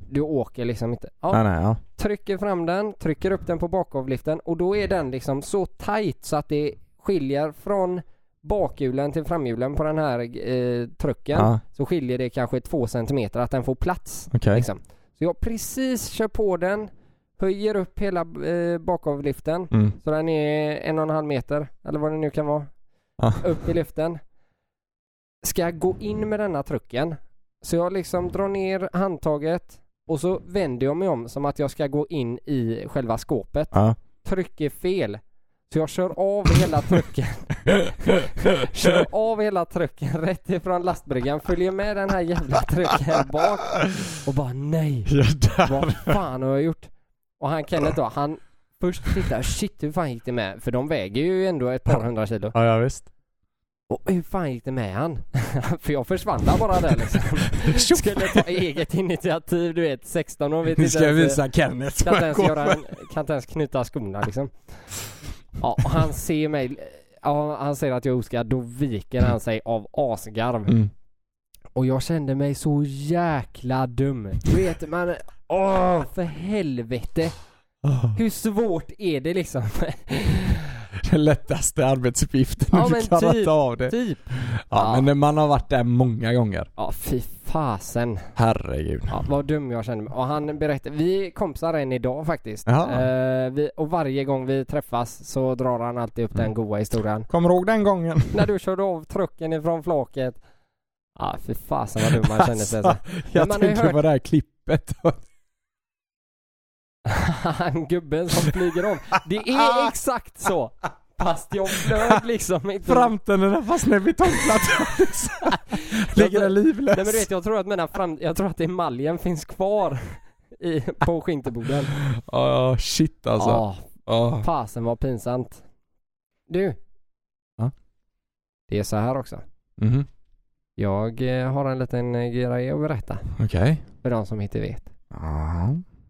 Du åker liksom inte. Ja, Nej, nej, ja. Trycker fram den, trycker upp den på bakavliften och då är den liksom så tight så att det skiljer från bakhjulen till framhjulen på den här eh, trucken. Ja, Så skiljer det kanske två centimeter att den får plats. Ah, okej. Liksom. Så jag precis kör på den, höjer upp hela eh, bakavliften. Mm. Så den är en och en halv meter, eller vad det nu kan vara. Ja. Upp i luften. Ska jag gå in med denna trucken. Så jag liksom drar ner handtaget och så vänder jag mig om som att jag ska gå in i själva skåpet. Ja. Trycker fel. Så jag kör av hela trucken. kör av hela trucken rätt ifrån lastbryggan. Följer med den här jävla trucken bak. Och bara nej. Vad fan har jag gjort? Och han Kenneth då, han först tittar, shit hur fan gick det med? För de väger ju ändå ett par hundra kilo. Ja, ja visst. Och hur fan gick det med han? För jag försvann där bara där liksom. Skulle ta eget initiativ, du vet 16 år vet Nu inte ska jag ens- visa Kenneth kan vad inte jag ens, går göra för. en, kan inte ens knyta skorna liksom. Ja, och han ser mig, ja, han säger att jag är oskadd, då viker han sig av asgarv. Mm. Och jag kände mig så jäkla dum. Du vet man, åh för helvete. Hur svårt är det liksom? Den lättaste arbetsuppgiften Ja, du men klarat typ, av det. typ. Ja, Ja. men man har varit där många gånger. Ja, fy fasen. Herregud. Ja, vad dum jag kände mig. Och han berättade, vi är kompisar än idag faktiskt. Jaha. Eh, vi, och varje gång vi träffas så drar han alltid upp Mm. den goa historien. Kommer du ihåg den gången? När du körde av trucken ifrån flaket. Ja, fy fasen vad dum man kände sig. alltså. jag man har ju tänker hört- på det här klippet. Han gubben som flyger om. Det är exakt så. Fast jag flög liksom inte. Framtänderna fastnar i betongplattan. Ligger där livlös. Nej men du vet jag tror att mina fram... Jag tror att emaljen finns kvar. I, på skinterboden. Ja, shit alltså. Ja, Ja. fasen var pinsamt. Du. Ja? Det är så här också. Mhm. Jag eh, har en liten eh, grej att berätta. Okej. För de som inte vet. Ja.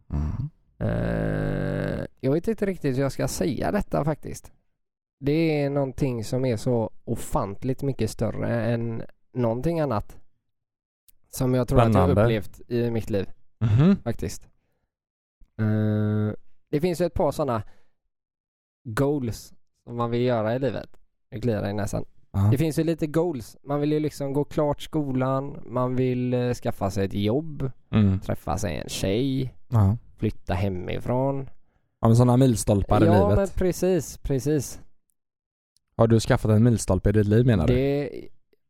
Mhm. Eh, jag vet inte riktigt hur jag ska säga detta faktiskt. Det är någonting som är så ofantligt mycket större än någonting annat. Som jag tror att Spännande. jag upplevt i mitt liv Mhm. faktiskt. Eh, det finns ju ett par sådana goals som man vill göra i livet. Det kliar i näsan. Ja. Det finns ju lite goals. Man vill ju liksom gå klart skolan, man vill eh, skaffa sig ett jobb, Mm. träffa sig en tjej, Ja. flytta hemifrån. Ja men sådana milstolpar i ja, livet. men precis, precis. Har du skaffat en milstolpe i ditt liv menar du? Det,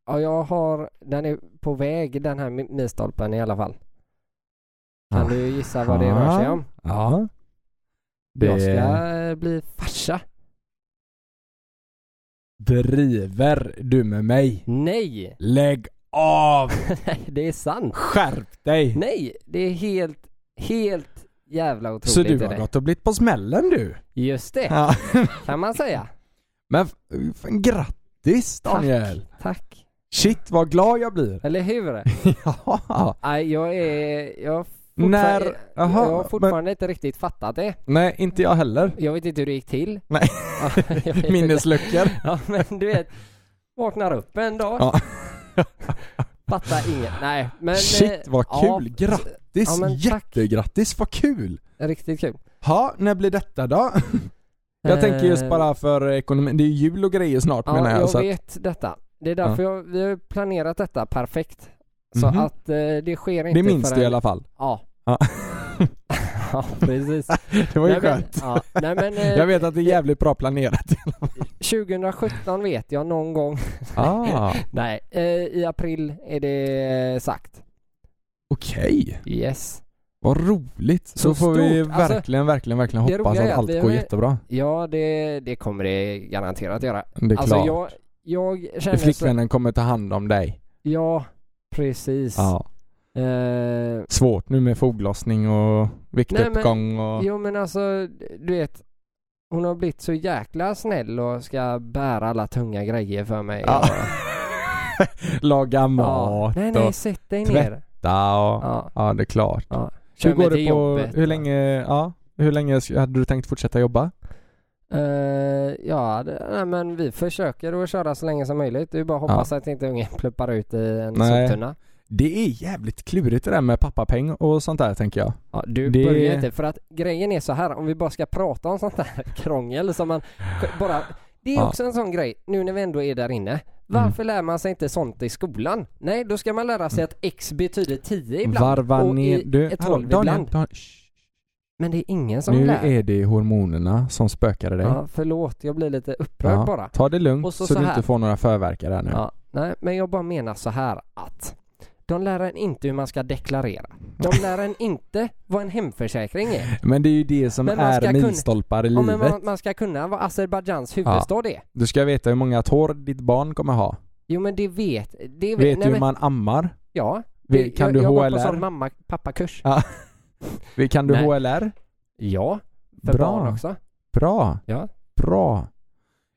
ja, jag har, den är på väg den här mi- milstolpen i alla fall. Kan du gissa vad det rör sig om? Ja. Det Jag ska eh, bli farsa. driver du med mig. Nej! Lägg av! det är sant. Skärp dig! Nej, det är helt, helt jävla otroligt. Så du är har det. gått och blivit på smällen du? Just det, Ja. kan man säga. Men f- fan, grattis Daniel! Tack, tack. Shit vad glad jag blir! Eller hur? ja! Nej, jag är, jag har fortfar- När- Jaha, jag har fortfarande inte riktigt fattat det. Nej, inte jag heller. Jag vet inte hur det gick till. Nej. Ja, jag vet inte. Minnesluckor. Ja, men du vet. Vaknar upp en dag. Ja. Fattar inget. Nej, men. Shit eh, vad kul! Ja, Grattis! ja, men tack. Jättegrattis, vad kul! riktigt kul. Ja, när blir detta då? Jag tänker just Eh, bara för ekonomin, det är ju jul och grejer snart Ja, menar jag, jag. så att- vet detta. Det är därför jag, vi har ju planerat detta perfekt. Så Mhm. att eh, det sker inte Det minns förrän... du i alla fall. Ja. Ja. Ja, precis. Det var ju Nej, men- skönt. Ja, nej men eh, Jag vet att det är jävligt bra planerat. 2017 vet jag någon gång. Ah, Nej, eh, i april är det eh, sagt. Okej, Yes. vad roligt. Så, Så får vi stort. Alltså, verkligen, verkligen, verkligen det hoppas roliga är att att allt vi går har- jättebra. Ja, det, det kommer det garanterat göra. Det är Alltså klart. jag, jag känner så, Flickvännen kommer ta hand om dig. ja precis. Ja. Eh, Svårt nu med foglossning och viktuppgång och... jo men alltså, du vet. Hon har blivit så jäkla snäll och ska bära alla tunga grejer för mig. Ja. Och, Laga mat Nej och nej, sätt dig ner. Ja, och... Ja. ja, det är klart. ja. Hur går mig det till på... jobbet. Hur länge... Ja, hur länge sk- hade du tänkt fortsätta jobba? Eh, ja, det, nej, men vi försöker att köra så länge som möjligt. Det är bara att Ja. hoppas att inte ungen pluppar ut i en Nej. soptunna. Det är jävligt klurigt det där med pappapeng och sånt där tänker jag. Ja, du Det- börjar inte, för att grejen är så här, om vi bara ska prata om sånt där krångel som man bara... Det är Ja. också en sån grej, nu när vi ändå är där inne. Mm. Varför lär man sig inte sånt i skolan? Nej, då ska man lära Mm. sig att X betyder 10 ibland Varva och ner... i Du, ett hallå, tolv Daniel, ibland. Daniel, shh. Men det är ingen som Nu lär. är det hormonerna som spökar i dig. ja, förlåt, jag blir lite upprörd Ja, bara. Ta det lugnt Och så så, så du här. inte får några förverkar där nu. Ja, nej, men jag bara menar så här att de lär en inte hur man ska deklarera. De lär en inte vad en hemförsäkring är. Men det är ju det som Men man ska är kunna- milstolpar i Ja, livet. men man, man ska kunna vad Azerbajdzjans huvudstad är. Du ska veta hur många tår ditt barn kommer ha. Jo men det vet... Det Vet du nej, hur men- man ammar? Ja. Vi- kan jag, du jag har gått på HLR? sån mamma pappakurs. Vi- Kan du Nej. HLR? Ja. För Bra. barn också. Bra. Ja. Bra.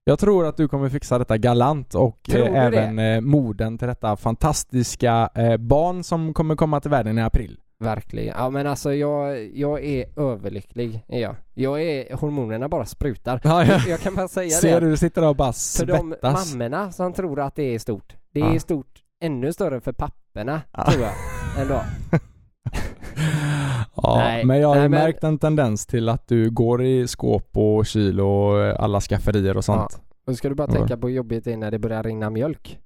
Jag tror att du kommer fixa detta galant och Tror eh, du även eh, moden till detta fantastiska eh, barn som kommer komma till världen i april. Verkligen. Ja men alltså jag, jag är överlycklig. Är jag. jag är... Hormonerna bara sprutar. Ja, ja. Jag kan bara säga Ser det. du, du sitter där och bara För de svettas. mammorna som tror att det är stort. Det Ja. är stort ännu större för papporna Ja. tror jag. Ändå. Ja, Nej, men jag har nej, ju men- märkt en tendens till att du går i skåp och kyl och eh, alla skafferier och sånt. Och ska du bara Ja. tänka på hur jobbigt det är när det börjar rinna mjölk.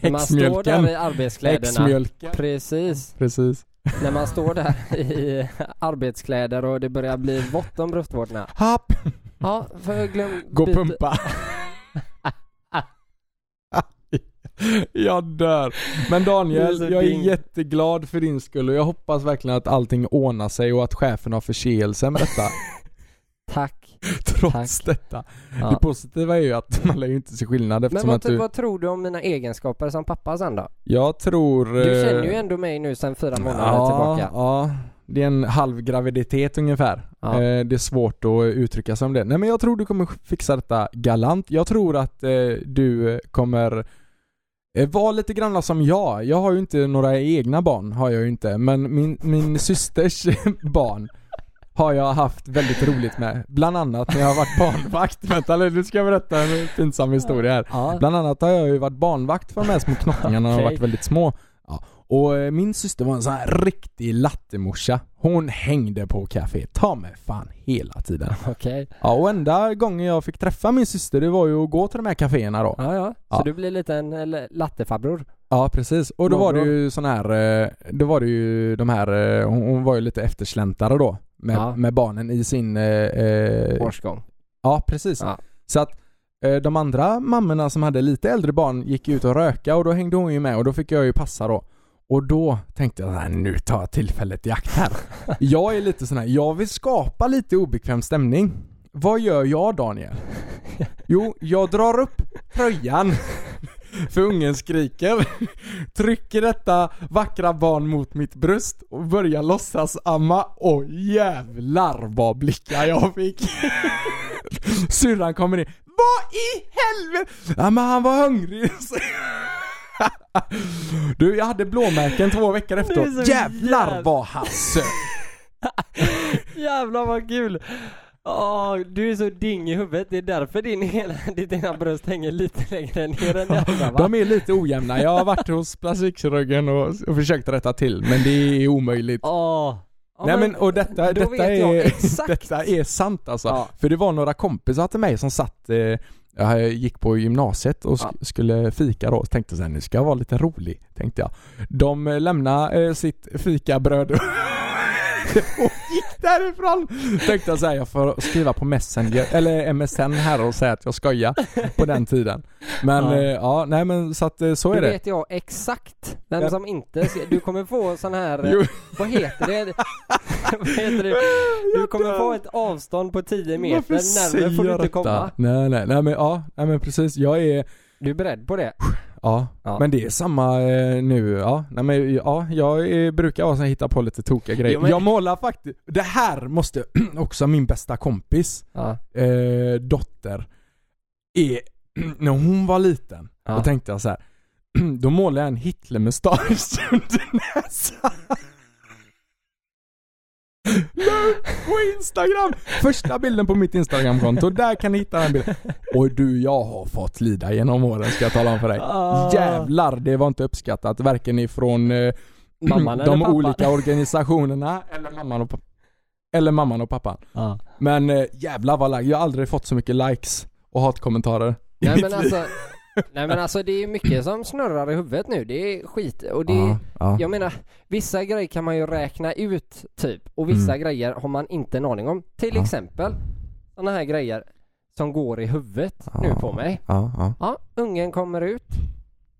När man står där Häxmjölken. i arbetskläderna. Häxmjölken. Precis. Precis. När man står där i arbetskläder och det börjar bli vått om bröstvårtorna. Happ! Ja, för glöm... Gå och byt- pumpa. Jag dör. Men Det är Daniel, så jag är ding. jätteglad för din skull och jag hoppas verkligen att allting ordnar sig och att chefen har förseelse med detta. Tack. Trots detta. Ja. Det positiva är ju att man lär ju inte se skillnad Men eftersom vad, typ att du... vad tror du om mina egenskaper som pappa sen då? Jag tror... Du känner ju eh, ändå mig nu sen fyra månader ja, tillbaka. Ja, det är en halv graviditet ungefär. Ja. Eh, Det är svårt att uttrycka sig om det. Nej men jag tror du kommer fixa detta galant. Jag tror att eh, du kommer eh, vara lite grann som jag. Jag har ju inte några egna barn, har jag ju inte. Men min, min systers barn har jag haft väldigt roligt med. Bland annat när jag har varit barnvakt. Vänta nu ska jag berätta en pinsam historia här. Ja. Bland annat har jag ju varit barnvakt för de här små knottingarna när de har Okej. varit väldigt små. Ja. Och eh, min syster var en sån här riktig lattemorsa. Hon hängde på café, ta mig fan hela tiden. Okej. Ja, och enda gången jag fick träffa min syster det var ju att gå till de här kaféerna då. Ja, ja. Så Ja. du blir lite en eller, lattefarbror? Ja precis, och då var det Morbror. ju sån här, eh, då var det ju de här, eh, hon hon var ju lite eftersläntare då med, Ja. med barnen i sin eh, eh, Årsgång. Ja, precis. Ja. Så att eh, de andra mammorna som hade lite äldre barn gick ut och röka och då hängde hon ju med och då fick jag ju passa då. Och då tänkte jag "Nej, nu tar jag tillfället i akt här. jag är lite sån här, jag vill skapa lite obekväm stämning. Vad gör jag Daniel? Jo, jag drar upp tröjan. För ungen skriker. Trycker detta vackra barn mot mitt bröst och börjar låtsas amma. Och jävlar vad blickar jag fick. Syrran kommer in. Vad i helvete? Ja men han var hungrig. Du, jag hade blåmärken två veckor Det är efteråt. så Jävlar jäv- vad han söp. Jävlar vad kul! Åh, du är så ding i huvudet. Det är därför din hela, ditt ena bröst hänger lite längre ner än det andra va? De är lite ojämna. Jag har varit hos plastikkirurgen och, och försökt rätta till men det är omöjligt. Åh. Ja, Nej men och detta, då detta, vet jag är, exakt. detta är sant alltså. Ja. För det var några kompisar till mig som satt, eh, jag gick på gymnasiet och sk- Ja. skulle fika då. Tänkte så här, nu ska jag vara lite rolig, tänkte jag. De eh, lämnade eh, sitt fikabröd och gick därifrån. Tänkte jag så här, jag får skriva på Messenger, eller MSN här och säga att jag skojar på den tiden. Men Ja. ja, ja nej men så att eh, så Då är det. vet jag exakt vem Ja. som inte ser. Du kommer få sån här, eh, Jo. vad heter det? vad heter det? Du kommer få ett avstånd på 10 meter, närmare får du inte komma. Nej, nej, nej men ja, nej men precis. Jag är, Du är beredd på det? ja. Ja. Men det är samma eh, nu, ja. Nej men ja, jag är, brukar vara sån här, hitta på lite tokiga grejer. Jo, men- Jag målar faktiskt, det här måste också min bästa kompis, Ja. eh, dotter, är, när hon var liten, Ja. då tänkte jag så här. Då målade jag en Hitlermustasch under näsan. Nu på Instagram! Första bilden på mitt Instagramkonto, där kan ni hitta den bilden. Och du, jag har fått lida genom åren ska jag tala om för dig. Ah. Jävlar, det var inte uppskattat. Varken ifrån eh, Mamman eller de pappan? olika organisationerna eller mamman och pappan. Eller mamman och pappan. Ja. Men eh, jävlar vad like. Jag har aldrig fått så mycket likes och hatkommentarer. i Nej mitt men liv. alltså, nej men alltså det är mycket som snurrar i huvudet nu. Det är skit och det Ja, ja. Jag menar, vissa grejer kan man ju räkna ut typ och vissa Mm. grejer har man inte en aning om. Till Ja. exempel sådana här grejer som går i huvudet nu Ah. på mig. Ja, ja. Ja, ungen kommer ut.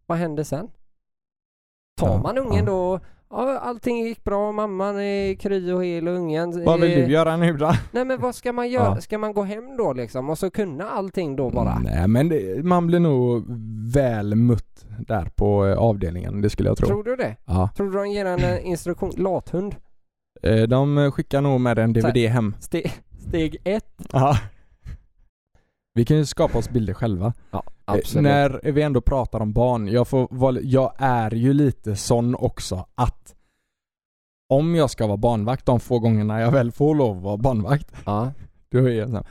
Vad händer sen? Tar Ja, man ungen ja. då? Ja, allting gick bra, mamman är kry och hel och ungen... Vad vill är- du göra nu då? Nej men vad ska man göra? Ja. Ska man gå hem då liksom och så kunna allting då bara? Mm, Nej men det, man blir nog väl mutt där på eh, avdelningen, det skulle jag tro. Tror du det? Ja. Tror du de ger en eh, instruktion? Lathund? Eh, De eh, skickar nog med en DVD hem. Ste steg ett? Ja. Vi kan ju skapa oss bilder själva. Ja, Eh, När vi ändå pratar om barn, jag, får, vara- jag är ju lite sån också att om jag ska vara barnvakt de få gångerna jag väl får lov att vara barnvakt, Ja. då är jag så här,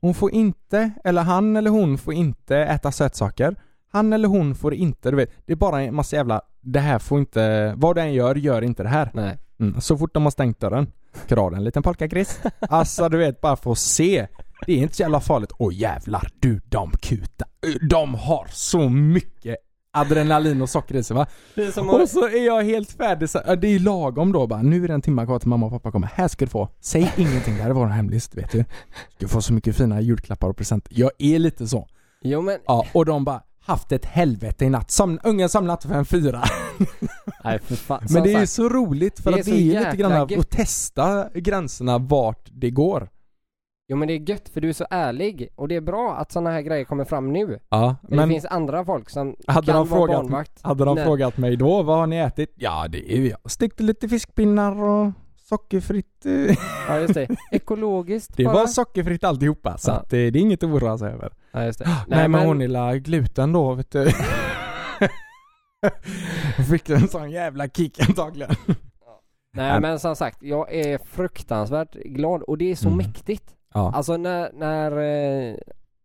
Hon får inte, eller han eller hon får inte äta sötsaker. Han eller hon får inte, du vet. Det är bara en massa jävla, det här får inte, vad den gör, gör inte det här. Nej. Mm. Så fort de har stängt dörren, drar en liten polkagris. Alltså du vet, bara för att se. Det är inte så jävla farligt. Åh jävlar, du de kuta. De har så mycket adrenalin och socker i sig va. Det är som Och att, så är jag helt färdig så, ja, Det är lagom då bara, nu är det en timme kvar till mamma och pappa kommer. Här ska du få. Säg ingenting, det här är vår hemlist vet du. Du får så mycket fina julklappar och presenter. Jag är lite så. jo men, Ja, och de bara haft ett helvete i natt. Som, ungen somnat för en fyra. Nej, för fan. Men Som det är ju sagt, så roligt för det är att så det är ju lite jäkla grann av gött. att testa gränserna vart det går. Jo men det är gött för du är så ärlig och det är bra att sådana här grejer kommer fram nu. Ja, Men, men det finns andra folk som hade kan de, vara frågat, barnvakt. hade de Nej. frågat mig då, vad har ni ätit? Ja, det är ju jag. Stekte lite fiskpinnar och sockerfritt. eh." Ja just det. Ekologiskt Det bara. var sockerfritt alltihopa, så Ja. att, eh, det är inget att oroa sig över. Ja just det. Nej, men, hon gillar gluten då, vet du. Hon Fick en sån jävla kick antagligen. Nej men som sagt, jag är fruktansvärt glad och det är så Mm. mäktigt. Ja. Alltså när, när eh,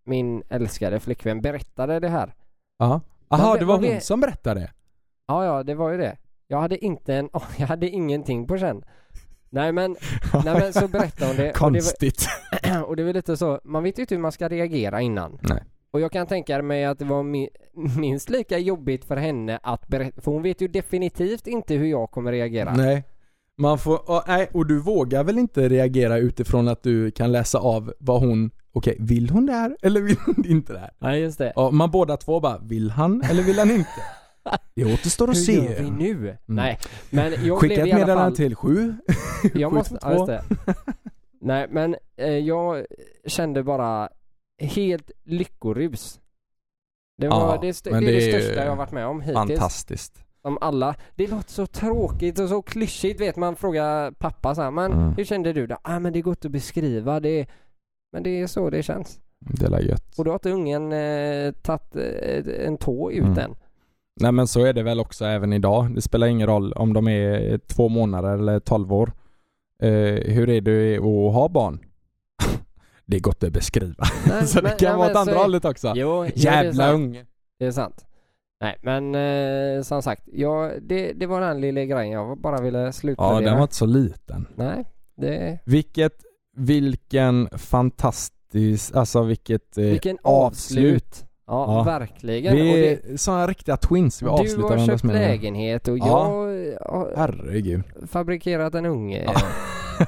min älskade flickvän berättade det här. Ja. Aha, Vad- det var vad hon vet- som berättade. Ja ja, det var ju det. Jag hade inte en jag hade ingenting på känn. Nej men, nej men så berättade hon det. Och det, var, Konstigt. och det är väl lite så, man vet ju inte hur man ska reagera innan. Nej. Och jag kan tänka mig att det var mi- minst lika jobbigt för henne att berätta, för hon vet ju definitivt inte hur jag kommer reagera. Nej. Man får, och, nej, och du vågar väl inte reagera utifrån att du kan läsa av vad hon, okej, vill hon det här eller vill hon inte det här? Nej just det. Ja, man båda två bara, vill han eller vill han inte? Det återstår att Hur se. gör vi nu? Mm. Nej, men jag Skicka blev ett i alla meddelande fall... till sju. Jag måste, ja, just 722. det. Nej men eh, jag kände bara helt lyckorus. Det, var, Ja, det, st- det, men är det det är ju största jag har varit med om hittills. Fantastiskt. Som alla. Det låter så tråkigt och så klyschigt vet man frågar pappa så här, men Mm. hur kände du då? Ah men det går inte att beskriva det. är- Men det är så det känns. Det är gött. Och då har inte ungen eh, tagit eh, en tå ut Mm. än. Nej men så är det väl också även idag. Det spelar ingen roll om de är två månader eller tolv år. Eh, hur är det att ha barn? det är gott att beskriva. Nej, så det men- kan ja, vara men åt så andra är- hållet också. Jo, jo, det är Jävla sant. unge. Det är sant. Nej men eh, som sagt, jag, det, det var den lilla grejen jag bara ville sluta Ja, med. den var inte så liten. Nej, det... Vilket, vilken fantastisk, alltså vilket eh, Vilken avslut! Ja, Ja. verkligen. Och Vi det, är såna riktiga twins, vi du avslutar har varandras köpt meningar. lägenhet och Ja. jag har Herregud. fabrikerat en unge. Ja.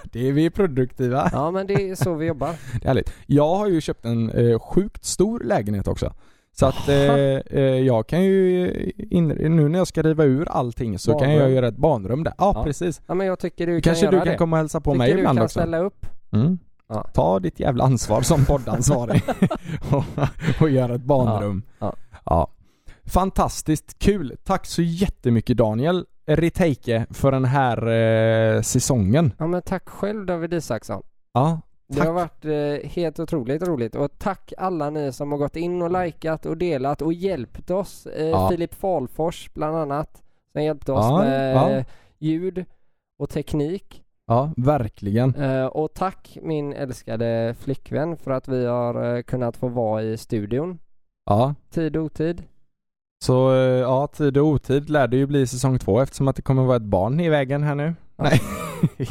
Det är vi är produktiva. Ja men det är så vi jobbar. Det är härligt. Jag har ju köpt en eh, sjukt stor lägenhet också. Så att eh, eh, jag kan ju, in, nu när jag ska riva ur allting så kan jag Badrum. göra ett barnrum där. Ja, Ja. precis. Ja men jag tycker du Kanske kan du göra kan det. komma och hälsa på tycker mig du ibland kan också. ställa upp? Mm. Ja. Ta ditt jävla ansvar som poddansvarig och, och gör ett barnrum. Ja, Ja. Fantastiskt kul. Tack så jättemycket Daniel Riteike för den här eh, säsongen. Ja men tack själv David Isaksson. Ja, Det Tack. har varit eh, helt otroligt roligt och tack alla ni som har gått in och likat och delat och hjälpt oss. Eh, Mm. Ja. Filip Falfors bland annat som hjälpte oss Ja, med ja. eh, ljud och teknik. ja verkligen. Eh, och tack min älskade flickvän för att vi har eh, kunnat få vara i studion Ja. tid och otid. Så eh, ja, tid och otid lär det ju bli säsong två eftersom att det kommer vara ett barn i vägen här nu. Ja. Nej,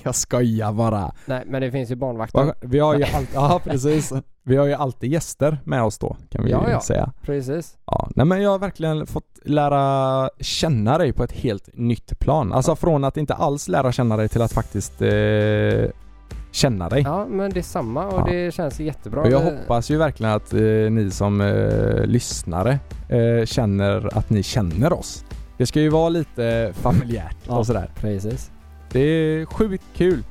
jag skojar bara. Nej men det finns ju barnvakter. Va- Vi har ju alltid, ja precis. Vi har ju alltid gäster med oss då kan vi Ja, ju ja. säga. Precis. Ja, nej men jag har verkligen fått lära känna dig på ett helt nytt plan. Alltså från att inte alls lära känna dig till att faktiskt eh, känna dig. Ja men det är samma och Ja. det känns jättebra. Och jag Det- hoppas ju verkligen att eh, ni som eh, lyssnare eh, känner att ni känner oss. Det ska ju vara lite familjärt Ja. och sådär. Precis. Det är sjukt kul.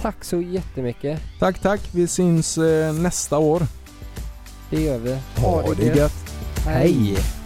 Tack så jättemycket. Tack, tack. Vi syns eh, nästa år. Det gör vi. Ha det gött. Hej.